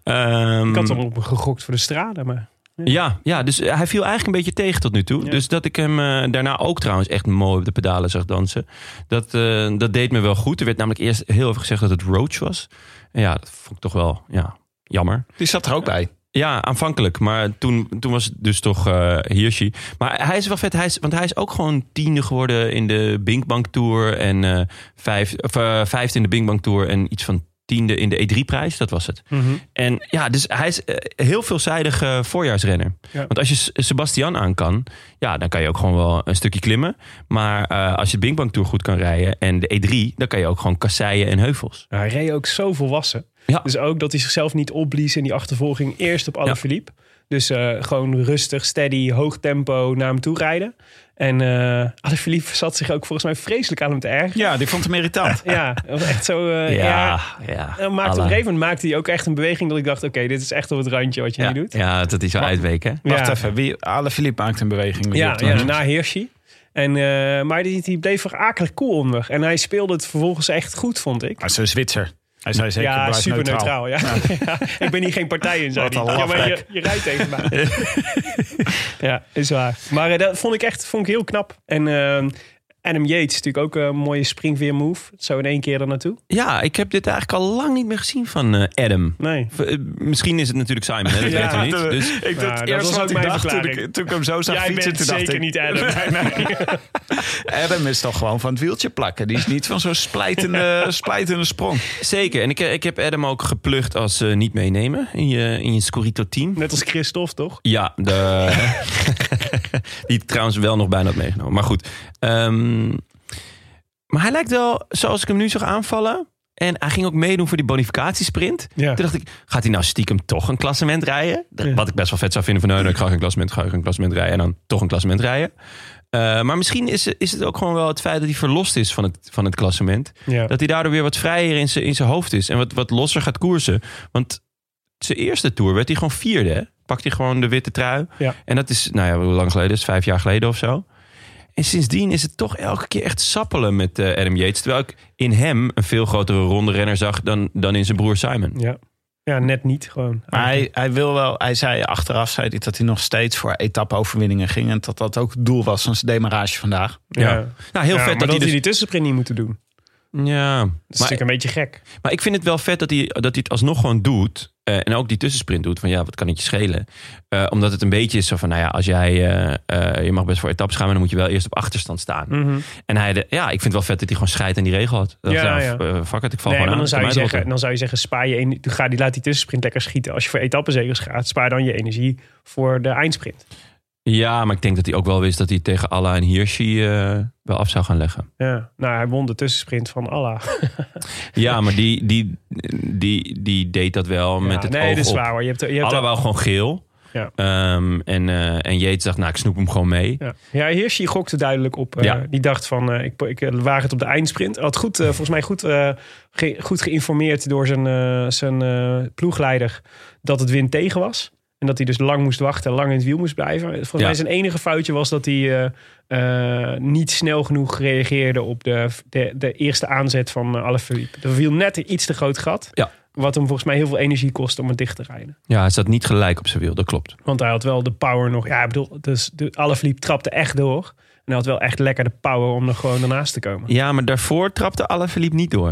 S1: Ehm,
S2: Ik had hem op gegokt voor de straden. Maar
S1: ja, ja, dus hij viel eigenlijk een beetje tegen tot nu toe.
S2: Ja.
S1: Dus dat ik hem eh, daarna ook trouwens echt mooi op de pedalen zag dansen. Dat, eh, dat deed me wel goed. Er werd namelijk eerst heel even gezegd dat het Roach was. En ja, dat vond ik toch wel ja, jammer.
S5: Die zat er ook bij.
S1: Ja, aanvankelijk. Maar toen, toen was het dus toch eh Hirschi. Maar hij is wel vet. Hij is, want hij is ook gewoon tiende geworden in de Binkbank Tour. En eh, vijf, of, eh, vijfde in de Binkbank Tour. En iets van tiende in de E3-prijs. Dat was het.
S5: Mhm.
S1: En ja, dus hij is eh, heel veelzijdig eh, voorjaarsrenner.
S2: Ja.
S1: Want als je S- Sebastian aan kan, ja, dan kan je ook gewoon wel een stukje klimmen. Maar eh, als je de Binkbank Tour goed kan rijden en de E3, dan kan je ook gewoon kasseien en heuvels.
S2: Nou, hij reed ook zo volwassen.
S1: Ja.
S2: Dus ook dat hij zichzelf niet opblies in die achtervolging eerst op Alaphilippe. Dus eh, gewoon rustig, steady, hoog tempo naar hem toe rijden. En eh Alaphilippe zat zich ook volgens mij vreselijk aan hem te erg.
S5: Ja, die vond hem irritant.
S2: Ja, dat was echt zo... eh, ja.
S1: ja. ja.
S2: En maakte op een
S1: Allah.
S2: gegeven moment maakte hij ook echt een beweging dat ik dacht... oké, dit is echt op het randje wat je
S1: ja,
S2: nu doet.
S1: ja, dat is wel uitweken. hè?
S5: Wacht
S2: Ja.
S5: even, wie, Ale Philippe maakt een beweging.
S2: Ja,
S5: Op de-
S2: ja na Hirschi. En, eh, maar die, die bleef er akelig cool onder. En hij speelde het vervolgens echt goed, vond ik.
S5: Maar zo'n Zwitser. Hij zei zeker,
S2: ja,
S5: blijf
S2: super neutraal. ja. Ja, ik ben hier geen partij in, zei
S5: Wat
S2: hij.
S5: een
S2: Ja, maar je,
S5: lafbek.
S2: je rijdt tegen mij. ja, is waar. Maar eh, dat vond ik echt vond ik heel knap. En ehm, Adam Yates is natuurlijk ook een mooie springveer move. Zo in één keer er naartoe.
S1: Ja, ik heb dit eigenlijk al lang niet meer gezien van eh, Adam.
S2: Nee.
S1: V- eh, Misschien is het natuurlijk Simon, hè? dat
S2: Ja,
S1: weten we
S5: dat-
S1: niet. Dus,
S5: Ik,
S2: Nou, dat was ook
S5: ik
S2: mijn
S5: dacht toen ik,
S2: verklaring.
S5: toen ik hem zo zag
S2: Jij
S5: fietsen,
S2: bent
S5: toen dacht
S2: zeker
S5: ik,
S2: niet Adam.
S5: Adam is toch gewoon van het wieltje plakken. Die is niet van zo'n splijtende, splijtende sprong.
S1: zeker, en ik, eh, ik heb Adam ook geplucht als eh, niet meenemen in je, in je Scorito-team.
S2: Net als Christophe, toch?
S1: Ja, de... die trouwens wel nog bijna had meegenomen. Maar goed. Ehm, maar hij lijkt wel, zoals ik hem nu zag aanvallen... en hij ging ook meedoen voor die bonificatiesprint.
S2: Ja.
S1: Toen dacht ik, gaat hij nou stiekem toch een klassement rijden? Dat- Wat ik best wel vet zou vinden van... nee, nee, ik ga geen klassement, ga geen klassement rijden... en dan toch een klassement rijden. Eh, maar misschien is, is het ook gewoon wel het feit dat hij verlost is van het, van het klassement.
S2: Ja.
S1: Dat hij daardoor weer wat vrijer in zijn in zijn hoofd is. En wat, wat losser gaat koersen. Want zijn eerste tour werd hij gewoon vierde. hè? Pakte hij gewoon de witte trui.
S2: Ja.
S1: En dat is, nou ja, hoe lang geleden is het? Vijf jaar geleden of zo. En sindsdien is het toch elke keer echt sappelen met eh, Adam Yates. Terwijl ik in hem een veel grotere ronde renner zag dan, dan in zijn broer Simon.
S2: Ja. Ja, net niet gewoon.
S5: Maar hij, hij wil wel, hij zei achteraf zei hij dat hij nog steeds voor etappe-overwinningen ging. En dat dat ook het doel was van zijn demarage vandaag.
S1: Ja. Nou, heel
S2: Ja,
S1: vet
S2: maar
S1: dat hij dus...
S2: die tussensprint niet moeten doen. Dat is
S1: Ja, maar,
S2: natuurlijk een beetje gek.
S1: maar ik vind het wel vet dat hij, dat hij het alsnog gewoon doet. eh, en ook die tussensprint doet. Van ja, wat kan het je schelen? Eh, omdat het een beetje is zo van, nou ja, als jij... eh, eh, je mag best voor etappes gaan, maar dan moet je wel eerst op achterstand staan. En hij... De, ja, ik vind het wel vet dat hij gewoon scheidt aan die regel had. Dat,
S2: Mhm. Ja,
S1: ja,
S2: ja.
S1: eh, fuck it, ik val gewoon
S2: Nee, maar
S1: aan.
S2: dan zou, je
S1: Kan mij het
S2: zeggen, dan zou je zeggen, spaar je energie, ga die, laat die tussensprint lekker schieten. Als je voor etappenzegers gaat, spaar dan je energie voor de eindsprint.
S1: rotten. Ja, maar ik denk dat hij ook wel wist dat hij tegen Allah en Hirschi eh, wel af zou gaan leggen.
S2: Ja. Nou, hij won de tussensprint van Allah.
S1: Ja, maar die, die, die, die deed dat wel met
S2: Ja,
S1: het
S2: nee,
S1: oog
S2: dat is
S1: op.
S2: waar hoor. Je hebt, je hebt
S1: Alle wou gewoon geel.
S2: Ja.
S1: Ehm, en, eh en Jeet dacht, nou, ik snoep hem gewoon mee.
S2: Ja, ja Hirschi gokte duidelijk op. eh,
S1: Ja.
S2: Die dacht van, eh, ik, ik eh, waag het op de eindsprint. Had goed, eh, volgens mij goed, eh, ge- goed geïnformeerd door zijn, eh, zijn eh, ploegleider dat het wind tegen was. En dat hij dus lang moest wachten, lang in het wiel moest blijven. Volgens
S1: Ja.
S2: mij zijn enige foutje was dat hij eh, eh, niet snel genoeg reageerde op de, de, de eerste aanzet van uh, Alaphilippe. Er viel net een iets te groot gat.
S1: Ja.
S2: Wat hem volgens mij heel veel energie kostte om het dicht te rijden.
S1: Ja, hij zat niet gelijk op zijn wiel, dat klopt.
S2: Want hij had wel de power nog. Ja, ik bedoel, dus de Alaphilippe trapte echt door. En hij had wel echt lekker de power om er gewoon ernaast te komen.
S1: Ja, maar daarvoor trapte Alaphilippe niet door.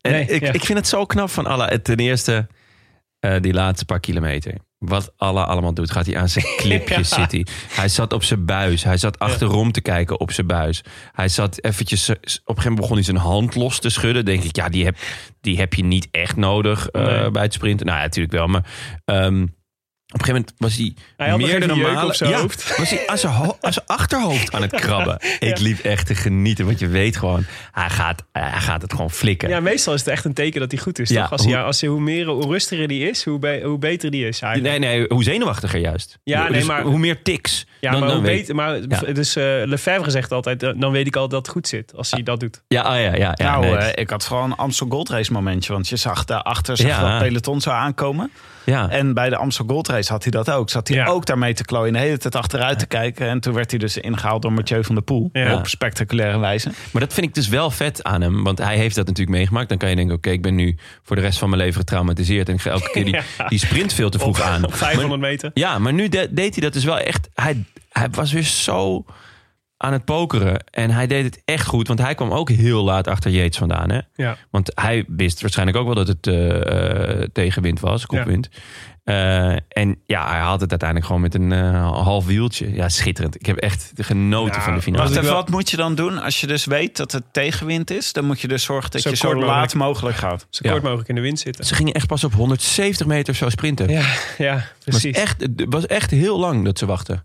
S1: En
S2: Nee,
S1: ik,
S2: ja.
S1: ik vind het zo knap van Alla. Ten eerste, eh, die laatste paar kilometer. Wat Alla allemaal doet, gaat hij aan zijn clipje zitten. Hij zat op zijn buis. Hij zat achterom te kijken op zijn buis. Hij zat eventjes... eh, Op een gegeven moment begon hij zijn hand los te schudden. Denk ik, ja, die heb, die heb je niet echt nodig eh,
S2: Nee.
S1: bij het sprinten. Nou ja, natuurlijk wel, maar... ehm, op een gegeven moment was hij,
S2: Hij had nog
S1: meer
S2: even
S1: dan
S2: jeuk
S1: normaal
S2: op zijn
S1: ja,
S2: hoofd.
S1: was hij aan zijn, ho- aan zijn achterhoofd aan het krabben. Ik liep echt te genieten, want je weet gewoon, hij gaat, hij gaat het gewoon flikken.
S2: Ja, meestal is het echt een teken dat hij goed is.
S1: Ja,
S2: toch? Als hij,
S1: hoe-
S2: als hij, hoe meer, hoe rustiger die is, hoe, be- hoe beter die is eigenlijk.
S1: Nee, nee, hoe zenuwachtiger juist.
S2: Ja, nee,
S1: Dus
S2: maar-
S1: Hoe meer tiks.
S2: Ja,
S1: dan-
S2: maar,
S1: dan
S2: hoe
S1: weet-
S2: beter, maar
S1: Ja.
S2: dus eh Lefebvre zegt altijd, eh, dan weet ik al dat het goed zit als hij dat doet.
S1: Ja, oh ja, ja. ja
S5: nou,
S1: nee,
S5: eh,
S1: het-
S5: ik had vooral een Amstel Gold Race momentje. Want je zag daarachter zag
S1: Ja.
S5: dat peloton zou aankomen.
S1: ja.
S5: En bij de Amstel Gold Race had hij dat ook. Zat hij
S2: Ja.
S5: ook daarmee te klooien. De hele tijd achteruit te kijken. En toen werd hij dus ingehaald door Mathieu van der Poel.
S2: Ja.
S5: Op spectaculaire wijze.
S1: Maar dat vind ik dus wel vet aan hem. Want hij heeft dat natuurlijk meegemaakt. Dan kan je denken, oké, ik ben nu voor de rest van mijn leven getraumatiseerd. En ik ga elke keer die, die sprint veel te vroeg aan.
S2: Op 500 meter.
S1: Ja, maar nu de- deed hij dat dus wel echt. Hij, hij was weer zo aan het pokeren. En hij deed het echt goed. Want hij kwam ook heel laat achter Yates vandaan. Hè?
S2: Ja.
S1: Want hij wist waarschijnlijk ook wel dat het eh, eh, tegenwind was, kopwind. Eh, en ja, hij had het uiteindelijk gewoon met een eh, half wieltje. Ja, schitterend. Ik heb echt genoten
S2: Ja,
S1: van de finale.
S5: Wacht even,
S2: wel-
S5: wat moet je dan doen? Als je dus weet dat het tegenwind is, dan moet je dus zorgen dat
S2: Zo
S5: je zo
S2: kort
S5: laat mogelijk gaat.
S2: Zo
S1: Ja.
S2: kort mogelijk in de wind zitten.
S1: Ze gingen echt pas op 170 meter zo sprinten.
S2: Ja, ja
S1: het, was
S2: precies.
S1: echt, het was echt heel lang dat ze wachten.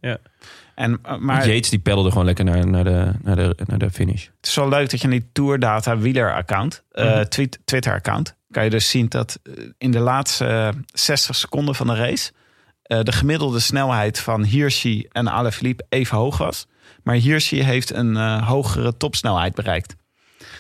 S5: En, uh, maar
S1: Yates die peddelde gewoon lekker naar, naar, de, naar, de, naar de finish.
S5: het is wel leuk dat je in die Tourdata wieler-account, eh,
S1: Mhm.
S5: tweet- Twitter-account, kan je dus zien dat eh, in de laatste eh, 60 seconden van de race eh, de gemiddelde snelheid van Hirschi en Alaphilippe even hoog was. Maar Hirschi heeft een eh, hogere topsnelheid bereikt.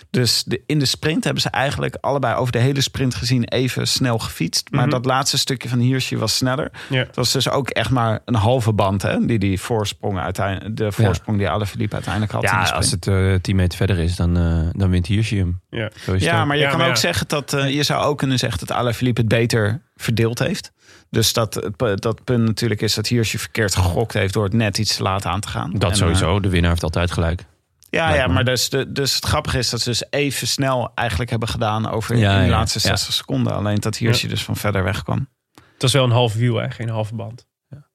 S5: Dus de, in de sprint hebben ze eigenlijk allebei over de hele sprint gezien even snel gefietst. Maar
S1: Mhm.
S5: dat laatste stukje van Hirschi was sneller.
S2: Ja.
S5: Het was dus ook echt maar een halve band, hè? Die, die voorsprong uiteindelijk, de voorsprong die Alaphilippe uiteindelijk had. in de
S1: Ja,
S5: sprint.
S1: als het eh 10 meter verder is, dan, eh, dan wint Hirschi hem.
S2: Ja.
S1: Zo is het
S5: Ja,
S1: ook.
S5: maar je
S2: Ja,
S5: kan
S2: maar
S5: ook
S2: ja.
S5: zeggen dat eh, je zou ook kunnen zeggen dat Alaphilippe het beter verdeeld heeft. Dus dat, het pu- dat punt natuurlijk is dat Hirschi verkeerd gegokt heeft door het net iets te laat aan te gaan.
S1: Dat
S5: En, eh,
S1: sowieso, de winnaar heeft altijd gelijk.
S2: Eh,
S5: ja, ja,
S1: Lijkt me.
S5: maar dus, de- dus het grappige is dat ze dus even snel eigenlijk hebben gedaan over
S1: Ja,
S5: in de
S1: ja,
S5: laatste
S1: ja.
S5: 60 seconden. Alleen dat Hirschi dus van verder weg kwam.
S2: Het was wel een half wiel, hè? geen halve band.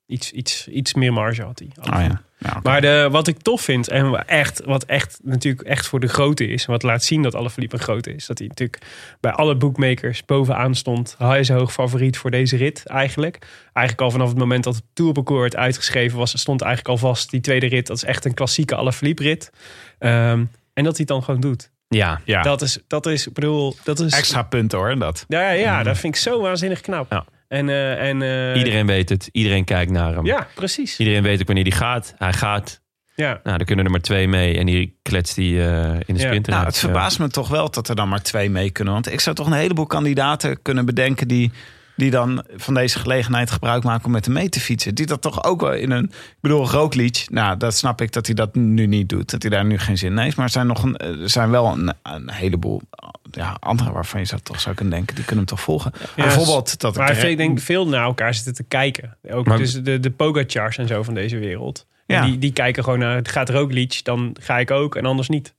S2: Iets, iets, iets meer marge had hij.
S1: Ah,
S5: Oh ja. Ja, oké.
S2: Maar de, wat ik tof vind en wa- echt, wat echt natuurlijk echt voor de grote is, en wat laat zien dat Alaphilippe een grote is, dat hij natuurlijk bij alle bookmakers bovenaan stond. Hij is hoog favoriet voor deze rit eigenlijk. Eigenlijk al vanaf het moment dat het tourparcours werd uitgeschreven was, stond eigenlijk al vast die tweede rit. Dat is echt een klassieke Alaphilippe rit. Ehm, en dat hij het dan gewoon doet.
S1: Ja, ja.
S2: Dat is, dat is, ik bedoel, dat is.
S5: Extra punten hoor, dat.
S2: Ja, ja, ja, dat vind ik zo waanzinnig knap.
S1: Ja.
S2: En, eh, en eh,
S1: iedereen weet het. Iedereen kijkt naar hem.
S2: Ja, precies.
S1: Iedereen weet ook wanneer die gaat. Hij gaat.
S2: Ja.
S1: Nou, dan kunnen er maar twee mee. En die kletst die eh, in de
S2: Ja.
S1: sprinter.
S5: Nou,
S1: uit.
S5: het verbaast me toch wel dat er dan maar twee mee kunnen. Want ik zou toch een heleboel kandidaten kunnen bedenken die die dan van deze gelegenheid gebruik maken om met hem mee te fietsen. Die dat toch ook wel in een... Ik bedoel, Roglic, nou, dat snap ik dat hij dat nu niet doet. Dat hij daar nu geen zin in heeft. Maar er zijn, nog een, eh, er zijn wel een, een heleboel ja, anderen waarvan je zou toch zou kunnen denken... die kunnen hem toch volgen. Bijvoorbeeld dat...
S2: Maar
S5: ik-
S2: ik denk veel naar elkaar zitten te kijken. Ook
S1: Maar-
S2: dus de, de Pogacars en zo van deze wereld. En
S5: Ja.
S2: Die, die kijken gewoon naar, het gaat Roglic, dan ga ik ook en anders niet.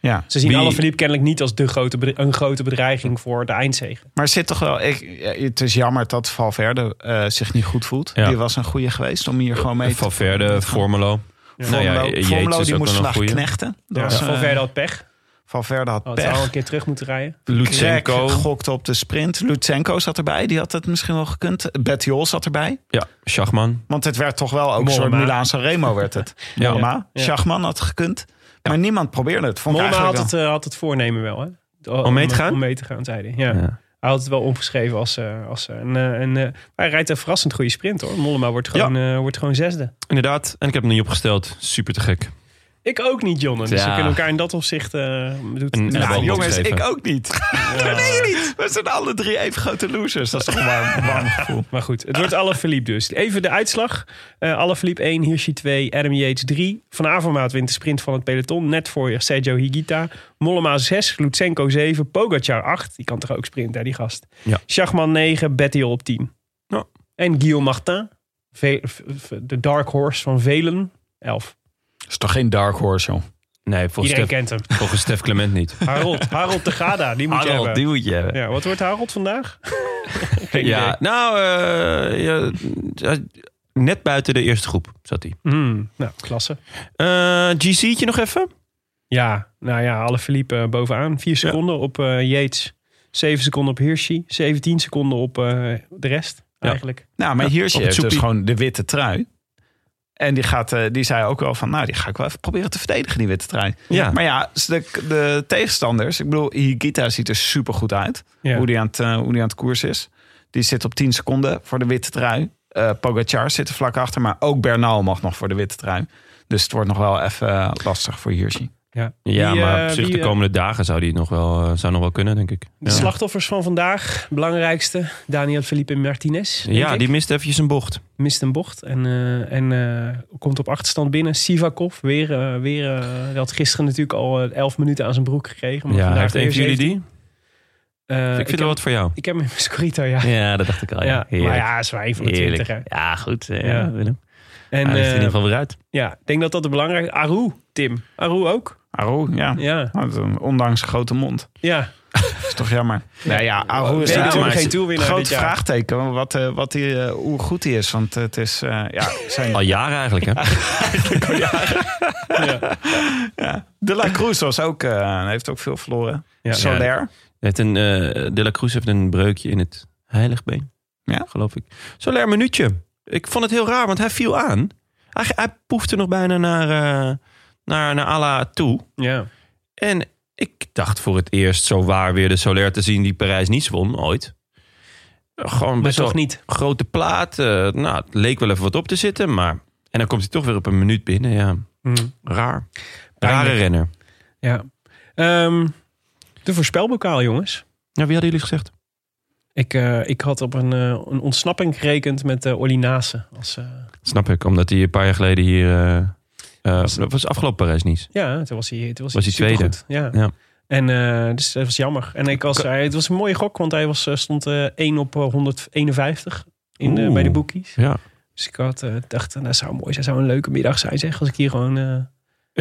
S5: ja.
S2: Ze zien
S1: Wie-
S2: Alaphilippe kennelijk niet als de grote, bedre- een grote bedreiging voor de eindzegen.
S5: Maar er zit toch wel. Ik, ja, het is jammer dat Valverde eh, zich niet goed voelt.
S1: Ja.
S5: Die was een goede geweest om hier gewoon mee
S2: Eh,
S5: te
S1: Valverde, Formelo. Nou ja,
S5: Formelo,
S1: Yates
S5: Formelo
S1: is
S5: die
S1: ook
S5: moest
S1: wel een
S5: vandaag
S1: goeie.
S5: knechten. Dat
S2: Ja.
S5: was, eh,
S2: Valverde Oh, had pech.
S5: Valverde had
S2: Had al
S5: pech.
S2: een keer terug moeten rijden.
S5: Krek
S1: Lutsenko.
S5: gokte op de sprint. Lutsenko zat erbij. Die had het misschien wel gekund. Bettiol zat erbij.
S1: Ja, Schachman.
S5: Want het werd toch wel ook een soort
S2: Mollema.
S5: Milaan Remo werd het.
S1: Ja.
S5: ja. Mollema.
S2: Ja.
S5: Schachman had gekund. Maar niemand probeerde het. Vond ik
S2: Mollema had
S5: eigenlijk
S2: het, eh, had het voornemen wel, hè?
S1: Om mee te gaan?
S2: Om mee te gaan, zei hij. Ja.
S1: Ja.
S2: Hij had het wel omgeschreven als... eh, als eh, een, eh, een, eh, hij rijdt een verrassend goede sprint, hoor. Mollema wordt gewoon, eh, wordt gewoon zesde.
S1: Inderdaad. En ik heb hem niet opgesteld. Super te gek.
S2: Ik ook niet, Jonne. Dus
S1: Ja.
S2: we kunnen elkaar in dat opzicht... eh doet
S1: Een-
S2: het-
S5: wel.
S1: het
S5: Nou,
S1: wel
S5: jongens,
S1: opgeschreven.
S5: ik ook niet. Dat weet je niet. We zijn alle drie even grote losers. Dat is toch een warm, warm gevoel.
S2: Maar goed, het wordt Alaphilippe dus. Even de uitslag. Eh Alaphilippe 1, Hirschi 2, Adam Yates 3. Van Avermaat wint de sprint van het peloton. Net voor je Sergio Higuita. Mollema 6, Lutsenko 7, Pogacar 8. Die kan toch ook sprinten, hè, die gast.
S1: Ja.
S2: Schachman 9, Bettiol op 10.
S1: Ja.
S2: En Guillaume Martin, ve- v- v- de dark horse van velen, 11.
S5: Dat is toch geen dark horse, joh.
S1: Nee, volgens
S2: Iedereen
S1: Stef,
S2: kent hem.
S1: volgens Stef Clement niet.
S2: Harold, Harold de Gada, die moet je hebben.
S1: moet je hebben.
S2: Ja, wat wordt Harold vandaag? Geen idee.
S1: Ja, nou, eh, ja, ja, net buiten de eerste groep zat hij.
S2: Hmm, nou, klasse.
S1: Eh, GC'tje nog even?
S2: Ja, nou ja, alle Philippe eh, bovenaan. Vier seconden op eh Yates. Zeven seconden op Hirschi. 17 seconden op eh, de rest,
S1: Ja.
S2: eigenlijk.
S5: Nou, maar
S1: Ja,
S5: hier
S1: op
S5: zie
S1: het
S5: je dus
S1: soepie.
S5: gewoon de witte trui. En die, gaat, eh, die zei ook wel van, nou, die ga ik wel even proberen te verdedigen, die witte trui.
S1: Ja.
S5: Maar ja, de, de tegenstanders, ik bedoel, Higita ziet er supergoed uit.
S2: Ja.
S5: Hoe, die aan het, eh, hoe die aan het koers is. Die zit op 10 seconden voor de witte trui. Eh Pogacar zit er vlak achter, maar ook Bernal mag nog voor de witte trui. Dus het wordt nog wel even eh, lastig voor Hirschi.
S2: Ja,
S1: Ja,
S2: Die,
S1: maar
S2: eh,
S1: op zich
S2: die,
S1: de
S2: eh,
S1: komende dagen zou die het nog wel, eh, zou nog wel kunnen, denk ik. Ja.
S2: De slachtoffers van vandaag, belangrijkste, Daniel Felipe Martinez. denk
S1: Ja,
S2: ik.
S1: die mist eventjes een bocht.
S2: mist een bocht en, eh, en eh, komt op achterstand binnen. Sivakov, weer, eh, weer eh, hij had gisteren natuurlijk al eh, 11 minuten aan zijn broek gekregen. Maar
S1: Ja,
S2: vandaag
S1: heeft een
S2: weer
S1: van jullie
S2: 17.
S1: die?
S2: Eh,
S1: ik vind
S2: heb,
S1: wel wat voor jou.
S2: ik heb hem in mijn scorito, ja.
S1: Oh Ja, dat dacht ik al.
S2: ja, maar
S1: Heerlijk.
S2: ja, is maar één van de
S1: Heerlijk.
S2: 20, hè.
S1: Ja, goed. eh,
S2: Ja.
S1: Willem.
S2: En
S1: Hij ligt in
S2: eh,
S1: ieder geval weer uit.
S2: ja, ik denk dat dat de belangrijkste... Aru, Tim. Aru ook.
S5: Aru, ja.
S2: Ja,
S5: Nou, dat is een- Ondanks een grote mond.
S2: ja.
S5: Dat is toch jammer. Nou ja, Aru
S2: We
S5: is
S2: zijn
S5: daar
S1: natuurlijk
S5: maar-
S2: geen toerwinnaar
S5: Groot
S2: dit jaar.
S5: vraagteken wat, eh, wat die, eh, hoe goed hij is. Want het is eh, ja, zijn
S1: Al jaren eigenlijk, hè?
S5: De La Cruz was ook, eh, heeft ook veel verloren.
S2: Ja.
S5: Soler.
S1: Heeft een, eh, de La Cruz heeft een breukje in het heiligbeen.
S5: Ja?
S1: Geloof ik. Soler minuutje. Ik vond het heel raar, want hij viel aan. Hij, hij poefde nog bijna naar, eh naar, naar Ala toe.
S2: Ja.
S1: En ik dacht voor het eerst zo waar weer de Soler te zien die Parijs niet won ooit. Gewoon
S2: Maar
S1: best wel
S2: toch niet.
S1: grote plaat. eh, nou, het leek wel even wat op te zitten, maar... En dan komt hij toch weer op een minuut binnen, ja. Raar. Rare
S2: Mm. Pijnlijk.
S1: renner.
S2: Ja. Ehm, de voorspelbokaal, jongens.
S1: Nou, wie hadden jullie gezegd?
S2: Ik, eh, ik had op een, eh, een ontsnapping gerekend met eh Olly Naassen. Als, eh,
S1: Snap ik, omdat hij een paar jaar geleden hier... eh, eh, dat was afgelopen Parijs-Nice.
S2: ja, toen was hij, toen was
S1: Was
S2: hij
S1: hij tweede.
S2: supergoed. Ja.
S1: Ja.
S2: En eh, dus dat was jammer. En ik was, hij, het was een mooie gok, want hij was, eh, stond eh 1 op eh, 151 in, eh,
S1: Oeh.
S2: bij de boekies.
S1: Ja.
S2: Dus ik had, eh, dacht, nou, dat zou mooi zijn. zou een leuke middag zijn, zeg. Als ik hier gewoon... eh,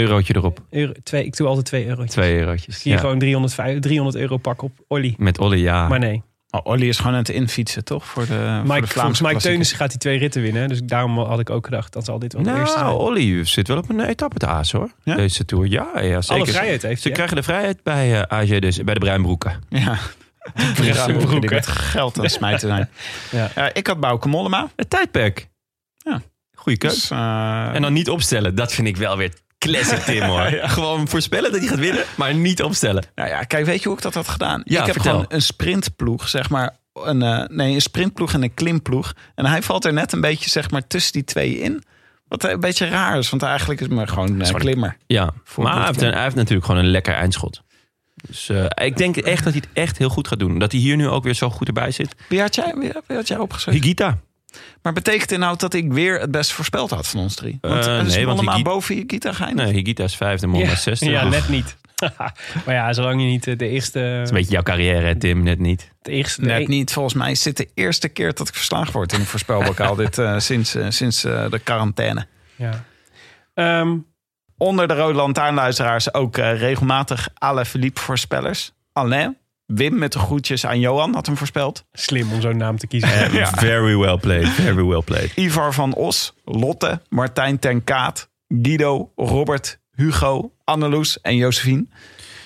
S1: Eurotje erop.
S2: euro- twee, ik doe altijd 2 euro. Als
S1: Twee eurotjes.
S2: ik hier
S1: Ja.
S2: gewoon 300, 300 euro pak op Olly.
S1: Met Olly, ja.
S2: Maar nee.
S5: Oh, Olly is gewoon aan het infietsen, toch? Voor de, voor de
S2: Mike, volgens
S5: Vlaamse
S2: Mike
S5: klassieker.
S2: Teunissen gaat die twee ritten winnen. Dus daarom had ik ook gedacht, dat zal dit wel de eerste zijn.
S1: nou, Olly zit wel op een etappe te aas, hoor.
S5: Ja?
S1: Deze Tour. Ja, ja zeker.
S2: Alle vrijheid heeft
S1: Ze
S2: hij. hè?
S1: krijgen de vrijheid bij eh, AG, dus bij de Bruinbroeken.
S5: Ja. Die gaan
S2: broek,
S5: broeken, die
S2: hè?
S5: met geld aan het smijten zijn.
S2: Ja.
S5: ja. ik had Bouke Mollema.
S1: Het tijdperk.
S5: Ja.
S1: Goeie keus.
S5: Dus, eh,
S1: En dan niet opstellen. Dat vind ik wel weer classic Tim, hoor. Gewoon voorspellen dat hij gaat winnen, maar niet opstellen.
S5: nou ja, kijk, weet je hoe ik dat had gedaan?
S1: Ja,
S5: ik heb
S1: vertel.
S5: gewoon een sprintploeg, zeg maar. Een, eh, nee, een sprintploeg en een klimploeg. En hij valt er net een beetje zeg maar, tussen die twee in. Wat eh, een beetje raar is, want eigenlijk is het maar gewoon een
S1: gewoon-
S5: klimmer.
S1: Ja,
S5: Voor
S1: maar hij heeft,
S5: Boefton.
S1: hij heeft natuurlijk gewoon een lekker eindschot. Dus eh, ik denk echt dat hij het echt heel goed gaat doen. Dat hij hier nu ook weer zo goed erbij zit.
S5: Wie had jij, wie, wie had jij opgeschreven?
S1: Higita.
S5: Maar betekent dit nou dat ik weer het beste voorspeld had van ons drie? Want
S1: Eh,
S5: het is
S1: nee, want
S5: allemaal
S1: Higi-
S5: boven Higita geëindigd.
S1: Nee, Higita is vijfde, Mon
S2: Ja,
S1: is zesde.
S2: ja,
S1: Oef.
S2: net niet. maar ja, zolang je niet eh, de eerste...
S1: Dat is een beetje jouw carrière, hè, Tim, net niet.
S2: De eerste
S5: Net niet. Volgens mij is dit de eerste keer dat ik verslagen word in een voorspelbokaal. dit, eh, sinds eh, sinds eh, de quarantaine.
S2: Ja. Ehm,
S5: Onder de Rode Lantaarnluisteraars ook eh, regelmatig alle Philippe voorspellers. Alain, Wim met de groetjes aan Johan had hem voorspeld.
S2: slim om zo'n naam te kiezen.
S1: Very well played, very well played.
S5: Ivar van Os, Lotte, Martijn ten Kaat, Guido, Robert, Hugo, Anneloes en Josephine.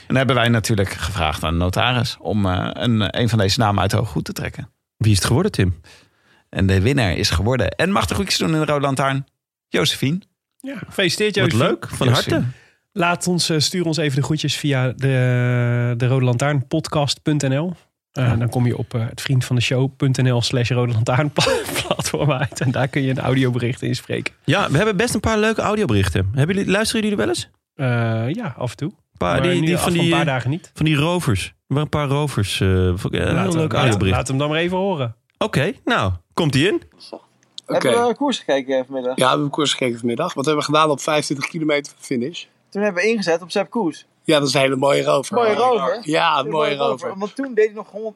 S5: En hebben wij natuurlijk gevraagd aan de notaris om eh, een, een van deze namen uit de hoge goed te trekken.
S1: Wie is het geworden, Tim?
S5: En de winnaar is geworden. En mag de groetjes doen in de Rode Lantaarn. Josephine.
S2: Ja, gefeliciteerd
S1: Wat
S2: Joost.
S1: leuk, van harte.
S5: Josephine.
S2: Laat ons, eh, stuur ons even de groetjes via de, de Rode Lantaarn podcast.nl. Eh, Dan kom je op eh, het vriend van de show.nl slash Rode Lantaarn pla- platform uit. En daar kun je een audiobericht inspreken.
S1: Ja, we hebben best een paar leuke audioberichten. Hebben jullie, luisteren jullie er wel eens? Een
S2: Eh, ja, af en toe.
S1: paar-
S2: Maar
S1: Ah, die,
S2: nu
S1: die,
S2: af
S1: van,
S2: een
S1: die,
S2: paar
S1: eh,
S2: dagen niet.
S1: van die rovers. Er waren een paar rovers. eh, vond ik, eh, een
S2: Laat
S1: heel
S2: hem-
S1: leuk
S2: laat,
S1: audiobericht.
S2: laat hem dan maar even horen.
S1: Oké, nou, komt die in?
S6: Oké.
S7: Hebben we koers gekeken vanmiddag?
S6: Ja, we hebben koers gekeken vanmiddag. Wat hebben we gedaan op 25 kilometer van finish?
S7: Toen hebben we ingezet op Sepp Koes.
S6: Ja, dat is een hele mooie rover.
S7: Mooie rover?
S6: Ja, een
S7: Een
S6: mooie rover.
S7: Want toen deed hij nog 100...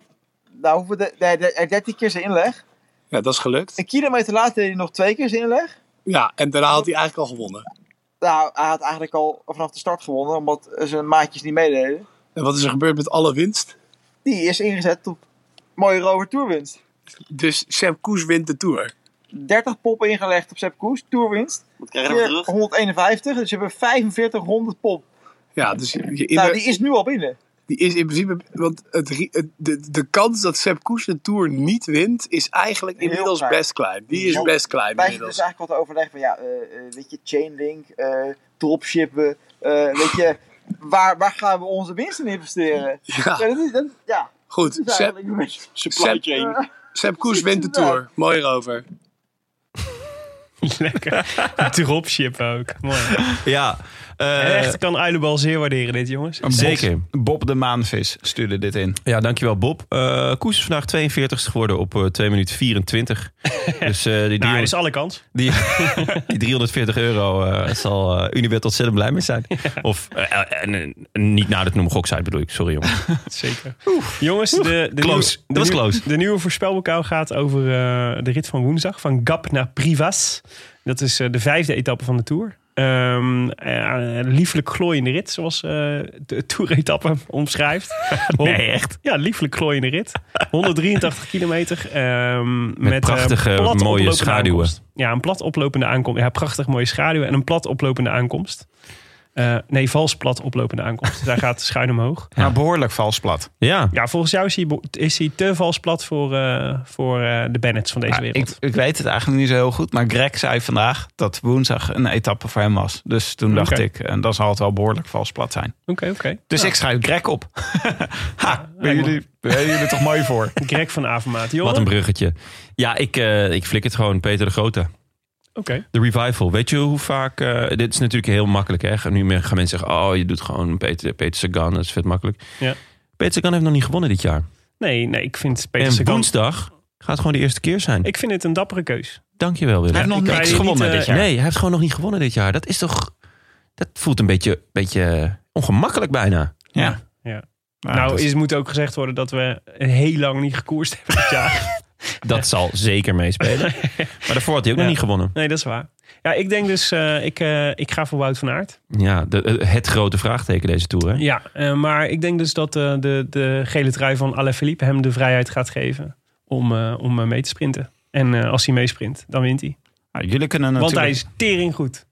S7: Nou, hoeveel de, de, de- 13 keer zijn inleg.
S6: Ja, dat is gelukt.
S7: Een kilometer later deed hij nog twee keer zijn inleg.
S6: Ja, en daarna had hij eigenlijk al gewonnen.
S7: Nou, hij had eigenlijk al vanaf de start gewonnen, omdat zijn maatjes niet meededen.
S6: En wat is er gebeurd met alle winst?
S7: Die is ingezet op mooie rover toerwinst.
S6: Dus Sam Koes wint de Tour.
S7: 30 poppen ingelegd op Sepp Koes, toerwinst.
S6: Wat
S7: Keer 151, dus je hebt 4500 pop.
S6: Ja, dus je, je- in
S7: nou,
S6: de-
S7: die is nu al binnen.
S6: die is in principe... Want het, ri- het- de, de kans dat Sam Koes de Tour niet wint... is eigenlijk
S7: Heel
S6: inmiddels
S7: klein.
S6: best klein. Die is
S7: Ja.
S6: best klein
S7: Wij zitten
S6: inmiddels.
S7: dus eigenlijk wat te overleggen van ja, eh, eh, weet je, chainlink, eh, dropshippen, eh, weet je, waar, waar gaan we onze winst in investeren? Ja,
S6: Ja,
S7: dat is, dat, ja,
S6: goed.
S7: dat is
S6: Sam,
S7: eigenlijk een beetje...
S6: Sam, Sam Koes wint de Tour. Mooi rover.
S2: Lekker. Dropship ook. Mooi.
S1: Ja, eh,
S2: Echt kan Uilenbal zeer waarderen dit, jongens.
S1: zeker.
S5: Bob de Maanvis stuurde dit in.
S1: Ja, dankjewel Bob. Eh, Koes is vandaag 42 geworden op eh 2 minuten 24. dus eh, die,
S2: Nou,
S1: 300,
S2: er is alle kans.
S1: die, die 340 euro eh, zal eh Unibet ontzettend blij mee zijn. Of eh, eh, en, eh, niet naar de Noemgok site bedoel ik, sorry jongen.
S2: Zeker. Jongens, de, de,
S1: Close. Dat
S2: nieuwe-
S1: was
S2: de, nieuwe-
S1: close.
S2: de nieuwe voorspelbokaal gaat over eh, de rit van woensdag. Van Gap naar Privas. Dat is eh, de vijfde etappe van de Tour. Ehm, eh, een lieflijk glooiende rit, zoals eh, de Tour-etappe omschrijft.
S1: Nee, echt?
S2: Ja, lieflijk glooiende rit. 183 kilometer. ehm, met, eh,
S1: prachtige,
S2: plat
S1: mooie
S2: oplopende
S1: schaduwen.
S2: aankomst. Ja, een plat oplopende aankomst. Ja, prachtig mooie schaduwen en een plat oplopende aankomst. Eh, nee, vals plat oplopende aankomst. Daar gaat schuin omhoog.
S5: Maar Nou, behoorlijk vals plat.
S1: Ja,
S2: Ja, volgens jou is hij, bo- is hij te vals plat voor, eh, voor eh, de Bennets van deze
S5: Ja,
S2: wereld.
S5: ik, ik weet het eigenlijk niet zo heel goed. Maar Greg zei vandaag dat woensdag een etappe voor hem was. Dus toen dacht
S2: Oké.
S5: ik, en dat zal het wel behoorlijk vals plat zijn.
S2: Oké, oké.
S5: Dus ik schrijf Greg op. ha, ben jullie, ben jullie er toch mooi voor?
S2: Greg van Avermaat. Johan?
S1: wat een bruggetje. Ja, ik, eh ik flik het gewoon, Peter de Grote.
S2: Oké.
S1: De revival. Weet je hoe vaak... eh, dit is natuurlijk heel makkelijk. Hè? Nu meer gaan mensen zeggen... Oh, je doet gewoon Peter, Peter Sagan. Dat is vet makkelijk.
S2: Ja.
S1: Peter Sagan heeft nog niet gewonnen dit jaar.
S2: Nee, nee, ik vind Peter
S1: en
S2: Sagan...
S1: woensdag gaat gewoon de eerste keer zijn.
S2: Ik vind het een dappere keus.
S1: Dankjewel, Willem.
S5: Hij heeft nog
S2: ik-
S5: niks
S2: ik-
S5: gewonnen
S2: niet, eh,
S5: dit jaar.
S1: Nee, hij heeft gewoon nog niet gewonnen dit jaar. Dat is toch... Dat voelt een beetje, beetje ongemakkelijk bijna.
S5: Ja.
S2: Ja.
S5: Maar
S2: nou,
S5: dat-
S2: is, moet ook gezegd worden dat we heel lang niet gekoerst hebben dit jaar.
S1: Dat zal zeker meespelen. Maar daarvoor had hij ook nog
S2: Ja.
S1: niet gewonnen.
S2: Nee, dat is waar. Ja, ik denk dus, eh, ik, eh, ik ga voor Wout van Aert.
S1: Ja, de, eh, het grote vraagteken deze Tour. Hè?
S2: Ja, eh, maar ik denk dus dat eh, de, de gele trui van Alaphilippe hem de vrijheid gaat geven om, eh, om eh, mee te sprinten. En eh, als hij meesprint, dan wint hij.
S5: nou, jullie kunnen natuurlijk...
S2: Want hij is tering goed.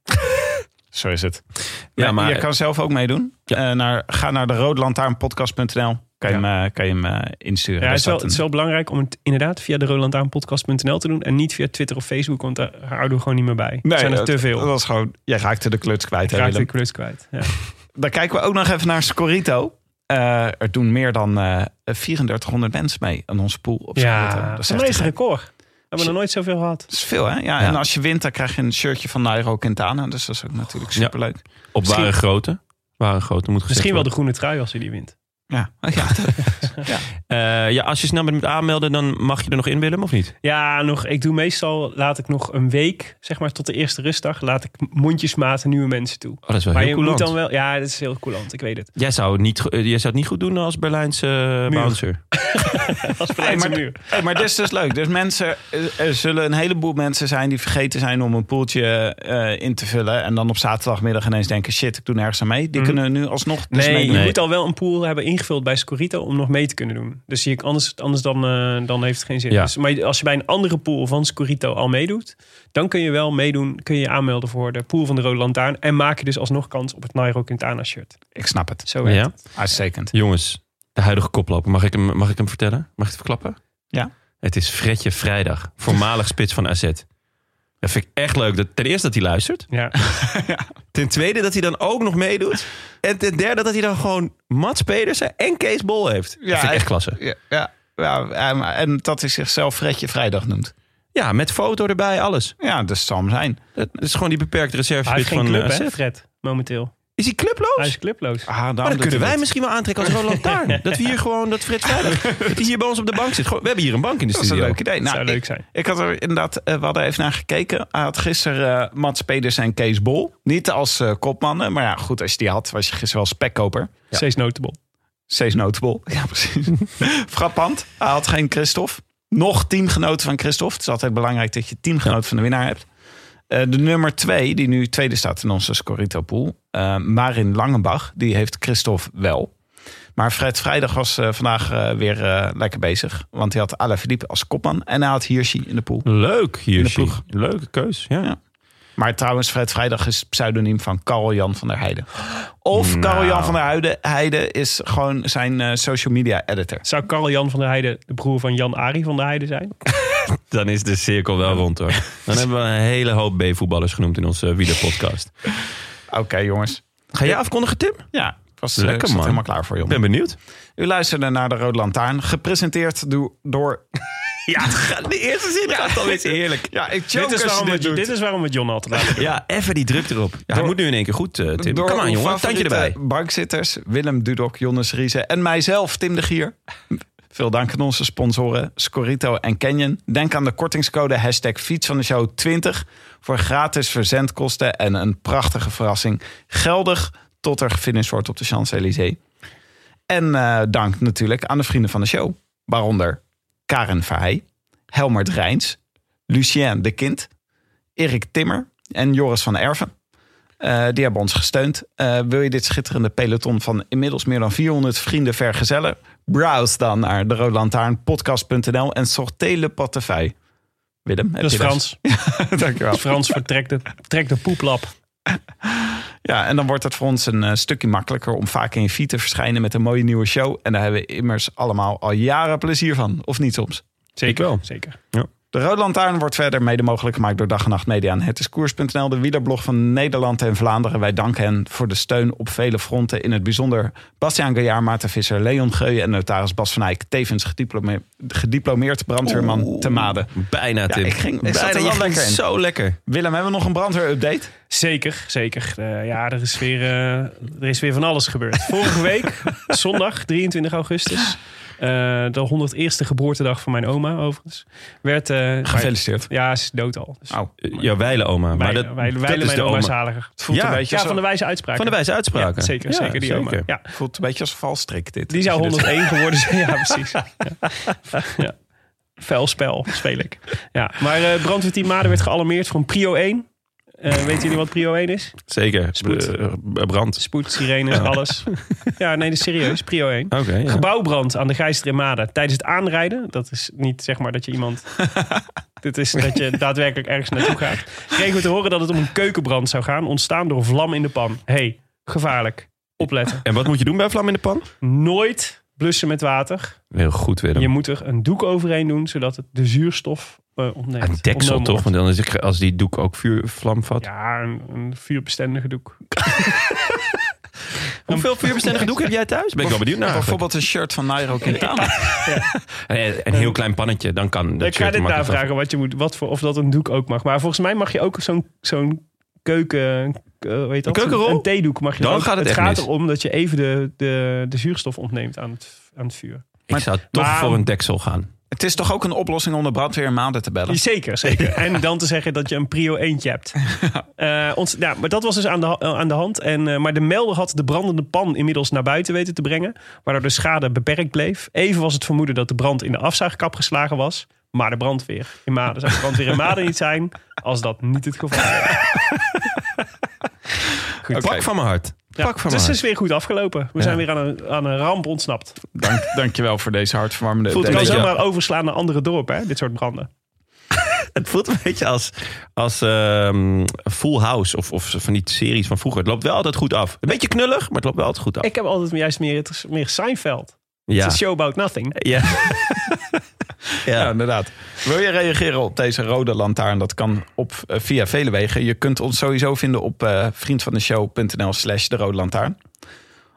S5: Zo is het.
S1: Ja,
S5: Ja, maar...
S1: maar-
S5: Je kan zelf ook meedoen. Eh, naar, ga naar de roodlantaarnpodcast.nl. Kan je hem, eh, kan je hem eh, insturen.
S2: Ja,
S5: Daar
S2: het, is wel,
S5: staat
S2: het is
S5: een-
S2: wel belangrijk om het inderdaad via de rolandaanpodcast.nl te doen. En niet via Twitter of Facebook, want daar houden we gewoon niet meer bij. er zijn er
S5: dat-
S2: te veel.
S5: Dat was gewoon, jij raakte de kluts kwijt.
S2: Ik
S5: hè,
S2: raakte
S5: Willem?
S2: de klus kwijt. Ja.
S5: Dan kijken we ook nog even naar Scorito. Eh, er doen meer dan eh 3400 mensen mee aan onze pool op Scorito.
S2: Ja,
S5: dat, is
S2: voor
S5: echt
S2: mij is
S5: te
S2: het
S5: gek.
S2: record. We hebben nog nooit zoveel gehad.
S5: Dat is veel, hè? Ja, En als je wint, dan krijg je een shirtje van Nairo Quintana. Dus dat is ook natuurlijk
S1: Ja.
S5: superleuk.
S1: Op ware
S2: Misschien-
S1: grote. Ware grote moet gezegd
S2: Misschien wel de
S1: worden.
S2: groene trui als hij die wint.
S5: Ja.
S1: Ja, Eh, ja, als je snel bent met aanmelden, dan mag je er nog in, Willem, of niet?
S2: Ja, nog, ik doe meestal, laat ik nog een week, zeg maar, tot de eerste rustdag, laat ik mondjesmaat nieuwe mensen toe.
S1: Oh, dat is wel
S2: maar
S1: heel
S2: je moet
S1: coulant.
S2: dan wel, ja, dat is heel coulant, ik weet het.
S1: Jij zou, het niet, go- eh, jij zou het niet goed doen als Berlijnse eh, bouncer.
S2: Als
S5: Hey,
S2: Berlijnse
S5: maar,
S2: muur.
S5: hey, maar dit is dus leuk. Dus mensen, eh, er zullen een heleboel mensen zijn die vergeten zijn om een poeltje eh, in te vullen. En dan op zaterdagmiddag ineens denken: shit, ik doe nergens aan mee. Die kunnen nu alsnog. Dus
S2: Mhm. Nee,
S5: meedoen.
S2: je moet al wel een pool hebben ingevuld bij Scorito om nog mee te kunnen doen. Dus je, anders, anders dan, eh, dan heeft het geen zin.
S1: Ja.
S2: Dus, maar als je bij een andere pool van Scorito al meedoet, dan kun je wel meedoen, kun je je aanmelden voor de pool van de Rode Lantaarn. En maak je dus alsnog kans op het Nairo Quintana shirt.
S5: Ik snap het.
S2: Zo werkt
S1: Ja?
S2: het.
S5: Uitstekend.
S1: Jongens, de huidige koploper. Mag ik hem, mag ik hem vertellen? Mag ik het verklappen?
S5: Ja.
S1: Het is Fredje Vrijdag, voormalig spits van AZ. Dat vind ik echt leuk. Dat, ten eerste dat hij luistert.
S2: Ja.
S1: Ten tweede dat hij dan ook nog meedoet. En ten derde dat hij dan gewoon Mats Pedersen en Kees Bol heeft. Ja, dat vind ik echt klasse.
S5: Ja, ja, ja, en- en dat hij zichzelf Fredje Vrijdag noemt.
S1: Ja, met foto erbij, alles.
S5: Ja, dat zal hem zijn.
S1: Het is gewoon die beperkte
S2: Hij heeft
S1: reservespits
S2: geen
S1: van
S2: club,
S1: eh,
S2: hè,
S1: AZ.
S2: Fred, momenteel.
S1: Is hij clubloos?
S2: Hij is clubloos.
S5: Ah, daarom
S1: Maar
S5: doet
S1: dat kunnen
S5: hij
S1: wij
S5: dat.
S1: misschien wel aantrekken als Roland Lantaarn. Dat we hier gewoon, dat Frits Vrijdag, dat hij hier bij ons op de bank zit. Gewoon, we hebben hier een bank in de
S5: Dat is een
S1: studio.
S5: leuk idee.
S2: Dat zou
S5: nou, ik-
S2: leuk zijn.
S5: Ik had er inderdaad, eh, we hadden even naar gekeken. Hij had gisteren eh Mats Pedersen en Kees Bol. Niet als eh, kopmannen, maar ja, goed, als je die had, was je gisteren wel spekkoper.
S2: Steeds notable.
S5: Steeds notable. Ja, precies. Frappant. Hij had geen Christophe. Nog teamgenoten van Christophe. Het is altijd belangrijk dat je teamgenoot van de winnaar hebt. Eh, de nummer twee, die nu tweede staat in onze Scorito pool. eh, Marin Langenbach, die heeft Christophe wel. Maar Fred Vrijdag was eh, vandaag eh, weer eh, lekker bezig. Want hij had Alaphilippe als kopman. En hij had Hirschi in de pool.
S1: Leuk hier,
S5: de ploeg.
S1: Sjoerd. Leuke keus, ja.
S5: Ja. Maar trouwens, Fred Vrijdag is pseudoniem van Karel-Jan van der Heijden. Of Karel-Jan van der Heijden, Heijden is gewoon zijn eh, social media editor.
S2: Zou Karl-Jan van der Heijden de broer van Jan-Ari van der Heijden zijn?
S1: Dan is de cirkel wel rond hoor. Dan hebben we een hele hoop B-voetballers genoemd in onze wielerpodcast.
S5: Oké, jongens.
S1: Ga jij afkondigen, Tim?
S5: Ja, ik was
S1: Lekker,
S5: lekker man.
S1: man.
S5: helemaal klaar voor
S1: Ik
S5: jongen.
S1: ben benieuwd.
S5: U luisterde naar de Rode Lantaarn, gepresenteerd do- door.
S1: Ja, de eerste zin gaat alweer heerlijk.
S5: Ja, ik
S2: Dit is, waarom we, dit is waarom we John altijd laten.
S1: Ja, even die druk erop. Ja, hij moet nu in één keer goed, eh, Tim. Kom aan,
S5: uw
S1: jongen. Tandje
S5: favoriete
S1: erbij.
S5: Bankzitters, Willem Dudok, Jonas Riese en mijzelf, Tim de Gier. Veel dank aan onze sponsoren Scorito en Canyon. Denk aan de kortingscode hashtag fiets van de show 20 voor gratis verzendkosten en een prachtige verrassing. Geldig tot er gefinished wordt op de Champs-Élysées. En eh, dank natuurlijk aan de vrienden van de show. Waaronder Karen Verheij, Helmert Rijns, Lucien de Kind, Erik Timmer en Joris van Erven. Eh, die hebben ons gesteund. Eh, wil je dit schitterende peloton van inmiddels meer dan 400 vrienden vergezellen? Browse dan naar de roodlantaarnpodcast.nl en sorteer le portefeuille. Willem, heb
S2: Dat is
S5: je dat?
S2: Frans.
S5: Dankjewel.
S2: Frans vertrekt de, trekt de poeplap.
S5: Ja, en dan wordt het voor ons een eh, stukje makkelijker om vaak in je feed te verschijnen met een mooie nieuwe show. En daar hebben we immers allemaal al jaren plezier van. Of niet soms?
S2: Zeker wel. Zeker.
S5: De Rode Lantaarn wordt verder mede mogelijk gemaakt door Dag en Nacht Media en Het is Koers.nl, de wielerblog van Nederland en Vlaanderen. Wij danken hen voor de steun op vele fronten. In het bijzonder Bastiaan Gaillard, Maarten Visser, Leon Geuyen en notaris Bas van Eyck. Tevens gediplomeerd, gediplomeerd brandweerman te Maden.
S1: Bijna, Tim.
S5: ik ging- ik
S1: Bijna,
S5: zat er wel
S1: je ging
S5: lekker in.
S1: Zo lekker.
S5: Willem, hebben we nog een brandweerupdate?
S2: Zeker, zeker. Eh, ja, er is, weer, eh, er is weer van alles gebeurd. Vorige week, zondag 23 augustus, eh, de 101ste geboortedag van mijn oma overigens, werd... eh,
S5: Gefeliciteerd.
S2: Ja, ze is dood al. Dus
S5: Oh,
S1: Eh, Ja, wijlen oma. Maar
S2: wijlen-
S1: dat,
S2: wijlen- wijlen
S1: dat is
S2: mijn
S1: de
S2: oma
S1: oma.
S2: is zaliger.
S5: het voelt
S1: Ja,
S5: een beetje
S2: Ja,
S5: zo-
S2: van de wijze uitspraak.
S1: Van de wijze uitspraken.
S2: Ja, zeker,
S1: Ja,
S2: zeker die oma.
S1: zeker.
S2: Ja.
S5: voelt een beetje als een valstrik dit.
S2: Die zou
S5: Als je dit-
S2: 101 geworden zijn. Ja, precies. Ja. Ja. Vuil spel speel ik. Ja. Maar eh brandweerteam Maden werd gealarmeerd voor een Prio 1. Eh weten jullie wat Prio 1 is?
S1: Zeker.
S2: Spoed.
S1: Eh, Brand.
S2: Spoed, sirenes, alles. Ja, nee, dat is serieus. Prio 1.
S1: Oké, ja.
S2: Gebouwbrand aan de Geister in Maden tijdens het aanrijden. Dat is niet zeg maar dat je iemand... Dit is dat je daadwerkelijk ergens naartoe gaat. Kregen we te horen dat het om een keukenbrand zou gaan. Ontstaan door vlam in de pan. hey, gevaarlijk. Opletten.
S1: En wat moet je doen bij vlam in de pan?
S2: Nooit blussen met water.
S1: Heel goed, Willem.
S2: Je moet er een doek overheen doen, zodat het de zuurstof eh ontneemt.
S1: Een deksel
S2: Ontnomen
S1: toch?
S2: wordt.
S1: Want dan is het, als die doek ook vuur, vlam vat.
S2: Ja, een, een vuurbestendige doek.
S1: Hoeveel vuurbestendige doek heb jij thuis? Ben ik wel benieuwd naar. eigenlijk.
S5: Bijvoorbeeld een shirt van Nairo Quintana.
S1: Eh, Een heel klein pannetje, dan kan dat
S2: Ik ga
S1: shirt
S2: dit
S1: makkelijk af.
S2: navragen wat je moet, wat voor, of dat een doek ook mag. Maar volgens mij mag je ook zo'n zo'n keuken... eh, hoe heet dat?
S1: Een keukenrol?
S2: Een theedoek mag je
S1: Dan
S2: ook-
S1: gaat het echt
S2: gaat
S1: mis.
S2: erom dat je even de, de, de zuurstof ontneemt aan het, aan het vuur.
S1: Ik zou toch
S2: maar-
S1: voor een deksel gaan.
S5: Het is toch ook een oplossing om de brandweer maanden te bellen?
S2: Zeker, zeker. En dan te zeggen dat je een prio eentje hebt. Eh, ons, ja, maar dat was dus aan de, ha- eh, aan de hand. En, eh, maar de melder had de brandende pan inmiddels naar buiten weten te brengen. Waardoor de schade beperkt bleef. Even was het vermoeden dat de brand in de afzuigkap geslagen was. Maar de brandweer in Maden zou de brandweer in Maden niet zijn. Als dat niet het geval was.
S1: Pak van mijn hart. Pak van
S2: dus
S1: mijn
S2: het
S1: hart.
S2: is weer goed afgelopen. We zijn weer aan een, aan een ramp ontsnapt.
S1: Eh,
S5: Dank, dankjewel voor deze hartverwarmende
S2: Voelt
S5: update.
S2: kan
S1: beetje-
S2: zomaar overslaan naar andere dorpen, hè? dit soort branden.
S1: Het voelt een beetje als, als ehm, Full House of, of van die series van vroeger. Het loopt wel altijd goed af. Een beetje knullig, maar het loopt wel altijd goed af.
S2: Ik heb altijd juist meer, meer Seinfeld.
S1: ja.
S2: It's a show about nothing.
S1: Ja. ja.
S5: Ja, inderdaad. Wil je reageren op deze rode lantaarn? Dat kan op, eh, via vele wegen. Je kunt ons sowieso vinden op eh vriendvandeshow.nl slash de rode lantaarn.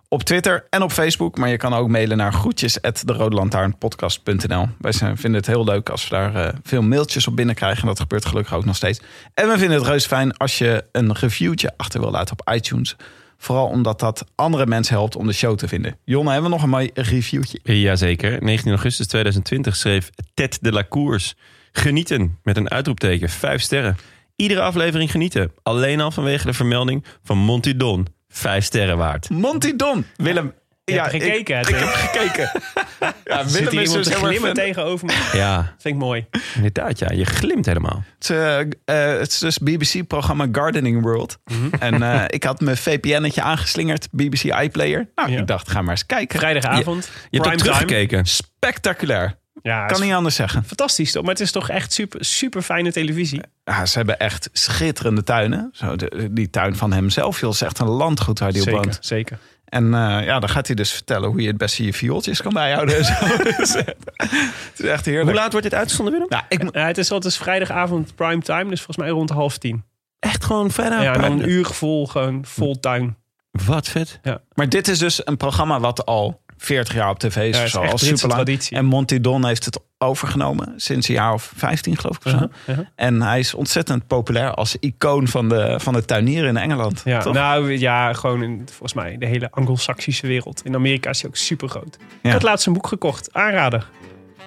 S5: Op Twitter en op Facebook. Maar je kan ook mailen naar groetjes at derodelantaarnpodcast.nl. Wij zijn, vinden het heel leuk als we daar eh, veel mailtjes op binnenkrijgen. En dat gebeurt gelukkig ook nog steeds. En we vinden het reuze fijn als je een reviewtje achter wil laten op iTunes. Vooral omdat dat andere mensen helpt om de show te vinden. Jonne, hebben we nog een mooi reviewtje?
S1: Jazeker. 19 augustus 2020 schreef Ted de la Cours. Genieten met een uitroepteken. Vijf sterren. Iedere aflevering genieten. Alleen al vanwege de vermelding van Monty Don. Vijf sterren waard.
S5: Monty Don. Willem.
S2: Ja,
S5: ik-
S2: gekeken. hè,
S5: Ik
S2: Tim?
S5: heb gekeken. Ja,
S2: Zit
S5: Willem
S2: hier
S5: is
S2: iemand
S5: dus
S2: te
S5: heel erg
S2: glimmen
S5: fan.
S2: tegenover me? Dat
S1: Ja,
S2: vind ik mooi.
S1: inderdaad. Ja. Je glimt helemaal.
S5: Het, eh, eh, het is dus BBC-programma Gardening World.
S2: Mhm.
S5: En eh, ik had mijn VPN-etje aangeslingerd, BBC iPlayer. Nou,
S2: Ja.
S5: ik dacht, ga maar eens kijken.
S2: Vrijdagavond.
S1: Je hebt ook
S2: primetime.
S1: teruggekeken.
S5: Spectaculair.
S2: Ja,
S5: Kan
S2: is
S5: niet anders zeggen.
S2: fantastisch toch? Maar het is toch echt super, super fijne televisie.
S5: Ja, ze hebben echt schitterende tuinen. Zo, de- die tuin van hemzelf, joh, is echt een landgoed waar die op woont.
S2: zeker.
S5: En eh, ja, dan gaat hij dus vertellen hoe je het beste je viooltjes kan bijhouden. en zo. Dus, eh, het is echt heerlijk.
S1: Hoe laat wordt dit uitgezonden, Willem?
S5: Nou, ik, moet-
S2: Ja, het is altijd vrijdagavond primetime, dus volgens mij rond half tien.
S1: Echt gewoon vrijdag.
S2: Ja, nou, en dan een uur vol, gewoon vol tuin.
S1: Wat vet.
S5: Maar dit is dus een programma wat al 40 jaar op tv is.
S2: Ja, het is
S5: of zo,
S2: echt
S5: al
S2: Britse
S5: superlang.
S2: traditie.
S5: En Monty Don heeft het overgenomen sinds een jaar of 15, geloof ik. Of zo.
S2: Uh-huh,
S5: En hij is ontzettend populair als icoon van de, van de tuinieren in Engeland.
S2: Ja,
S5: Toch?
S2: nou ja, gewoon in, volgens mij de hele anglo-saxische wereld. In Amerika is hij ook super groot. Ik
S5: Ja.
S2: had laatst een boek gekocht, aanrader.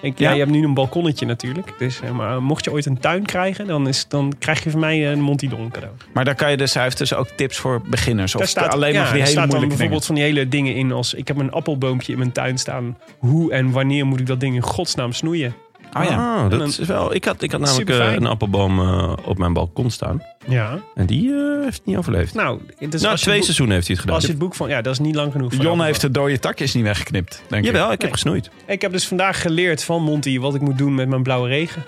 S2: Ik, ja,
S5: Ja.
S2: je hebt nu een balkonnetje natuurlijk. Dus, eh, maar mocht je ooit een tuin krijgen, dan, is, dan krijg je van mij een Monty Don cadeau.
S5: Maar daar kan je dus, hij heeft dus ook tips voor beginners. Of
S2: Daar staat
S5: alleen maar
S2: ja,
S5: van die
S2: er
S5: hele
S2: staat dan
S5: moeilijke
S2: bijvoorbeeld
S5: dingen.
S2: van die hele dingen in als ik heb een appelboompje in mijn tuin staan. Hoe en wanneer moet ik dat ding in godsnaam snoeien?
S5: Oh ja.
S1: Ah, dat
S2: En
S1: is wel... Ik had, ik had namelijk
S2: Superfijn.
S1: eh, een appelboom eh, op mijn balkon staan.
S2: Ja.
S1: En die eh, heeft het niet overleefd.
S2: Nou, dus
S1: nou,
S2: als je
S1: twee
S2: het boek-
S1: seizoenen heeft hij het gedaan.
S2: Als je het boek van ja, dat is niet lang genoeg. voor een
S5: Jon heeft
S2: appelboom.
S5: de dode takjes niet weggeknipt, denk
S1: Jawel, ik heb
S2: Nee.
S1: gesnoeid.
S2: Ik heb dus vandaag geleerd van Monty wat ik moet doen met mijn blauwe regen.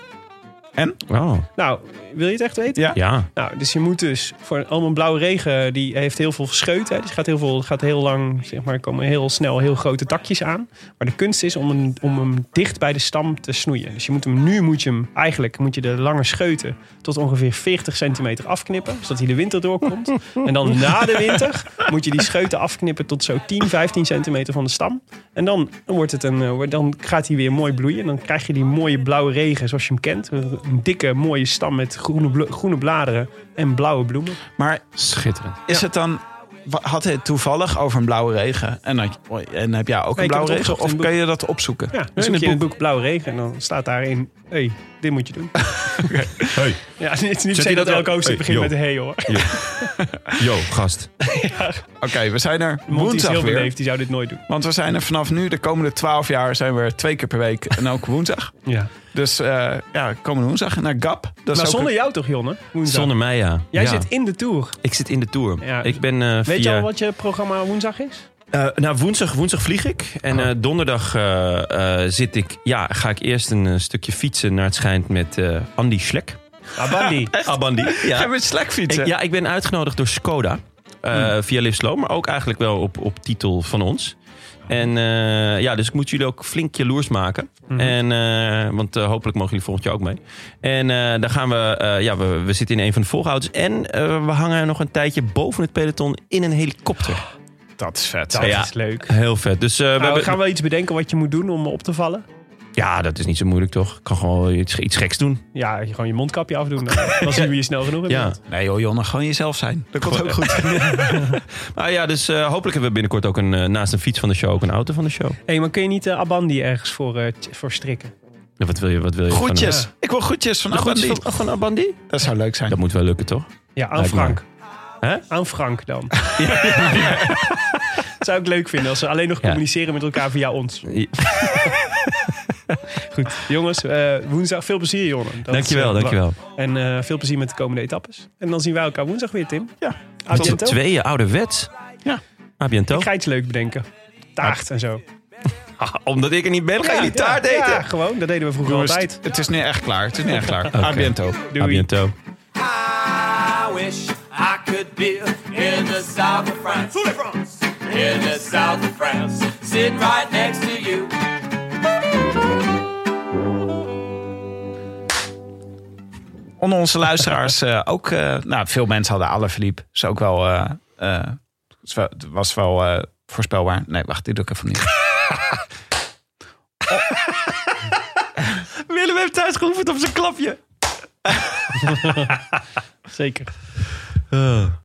S1: Oh,
S2: Nou, wil je het echt weten?
S5: Ja.
S1: ja.
S2: Nou, dus je moet dus voor al mijn blauwe regen, die heeft heel veel scheut. Hè. Dus gaat heel, veel, gaat heel lang, zeg maar, komen heel snel heel grote takjes aan. Maar de kunst is om hem, om hem dicht bij de stam te snoeien. Dus je moet hem nu, moet je hem, eigenlijk moet je de lange scheuten tot ongeveer 40 centimeter afknippen. Zodat hij de winter doorkomt. En dan na de winter moet je die scheuten afknippen tot zo 10, 15 centimeter van de stam. En dan, wordt het een, eh, wordt- dan gaat hij weer mooi bloeien. En dan krijg je die mooie blauwe regen zoals je hem kent. Eh, Een dikke mooie stam met groene, blo- groene bladeren en blauwe bloemen.
S5: ik. Maar
S1: Schitterend.
S5: is het dan... wa- Had hij het toevallig over een blauwe regen? En, dan, en heb jij ook
S2: Nee,
S5: een
S2: ik heb
S5: blauwe
S2: het
S5: regen?
S2: opgezocht in
S5: Of
S2: het
S5: kun je dat opzoeken?
S2: Ja, dan
S5: in
S2: zoek
S5: het
S2: je in het boek Blauwe Regen en dan staat daarin... Hé, hey, dit moet je doen.
S1: Hey,
S2: Ja, het is niet
S1: hij
S2: zo dat
S1: dat
S2: elke
S1: ook? Hey,
S2: hoofdstuk begint
S1: yo.
S2: met hey hoor.
S1: yo, gast.
S5: Oké, we zijn er
S2: Monty is
S5: woensdag
S2: heel
S5: weer.
S2: beleefd, die zou dit nooit doen.
S5: Want we zijn er vanaf nu, de komende twaalf jaar, zijn we er twee keer per week. En ook woensdag.
S2: Ja.
S5: Dus eh, ja, komende woensdag naar GAP. Dat
S2: Maar
S5: is ook
S2: zonder
S5: een-
S2: jou toch, Jonne? Woensdag.
S1: Zonder mij, ja.
S2: Jij
S1: Ja.
S2: zit in de Tour.
S1: Ik zit in de Tour.
S2: Ja.
S1: Ik ben eh,
S2: Weet
S1: via...
S2: je al wat je programma woensdag is?
S1: Eh, nou, woensdag, woensdag vlieg ik. En eh, donderdag eh, eh, zit ik, ja, ga ik eerst een eh, stukje fietsen naar het schijnt met eh, Andy Schlek.
S2: Abandi.
S1: Abandi.
S5: Ga
S1: Ja.
S5: je met Slack
S1: Ik,
S5: fietsen?
S1: ja, ik ben uitgenodigd door Skoda. eh,
S2: Hmm.
S1: Via Lipslow, maar ook eigenlijk wel op, op titel van ons. En eh, ja, dus ik moet jullie ook flink jaloers maken.
S2: Hmm.
S1: en, eh, want eh, hopelijk mogen jullie volgend jaar ook mee. En eh dan gaan we, eh, ja, we, we zitten in een van de volgauto's. En eh, we hangen nog een tijdje boven het peloton in een helikopter.
S5: Dat is vet.
S2: Oh, Dat
S1: Ja.
S2: is leuk.
S1: Heel vet. Dus eh, we
S2: Nou, we
S1: hebben-
S2: gaan wel iets bedenken wat je moet doen om op te vallen.
S1: Ja, dat is niet zo moeilijk toch? Ik kan gewoon iets, iets geks doen.
S2: Ja, je gewoon je mondkapje afdoen. Dan, dan zien we je snel genoeg. hebt.
S1: Ja.
S5: Nee joh, Jonne, gewoon jezelf zijn. Dat komt ook goed.
S1: Nou ja, dus eh, hopelijk hebben we binnenkort ook een, eh, naast een fiets van de show ook een auto van de show.
S2: hey, maar kun je niet eh, Abandi ergens voor, eh, t- voor strikken?
S1: Ja, Wat wil je? Wat wil je van-
S5: Groetjes. Ik wil groetjes van
S1: De groetjes
S5: Abandi.
S1: van, van Abandi?
S5: Dat zou leuk zijn.
S1: Dat moet wel lukken, toch?
S2: Ja, aan
S1: Lijkt me.
S2: Frank.
S1: Hè?
S2: Aan Frank dan. Zou ik leuk vinden als ze alleen nog
S1: Ja.
S2: communiceren met elkaar via ons.
S1: Ja.
S2: Goed, jongens, eh, woensdag veel plezier, Jonne. Dat is,
S1: Dankjewel,
S2: eh,
S1: dankjewel.
S2: En eh, veel plezier met de komende etappes. En dan zien wij elkaar woensdag weer, Tim.
S5: Ja.
S1: Tot z'n
S2: Argento.
S1: tweeën, ouderwets.
S5: Ja.
S1: A biento.
S2: Ik ga iets leuk bedenken. Taart en zo.
S1: Ah, Omdat ik er niet ben, ga je die taart
S2: ja,
S1: eten.
S2: Ja, gewoon. Dat deden we vroeger
S5: Jongens,
S2: altijd.
S5: Het is nu echt klaar. Het is nu echt klaar. A biento.
S2: Doei.
S1: A biento.
S4: I wish I could be in the south of France. In the south of France. Sitting right next to you.
S5: onder onze luisteraars eh, ook... eh, nou, veel mensen hadden Alaphilippe. Is ook wel... eh, eh, is wel- Het was wel eh, voorspelbaar. Nee, wacht. Dit doe ik even niet.
S1: Willem heeft thuis geoefend op zijn klapje.
S2: Zeker.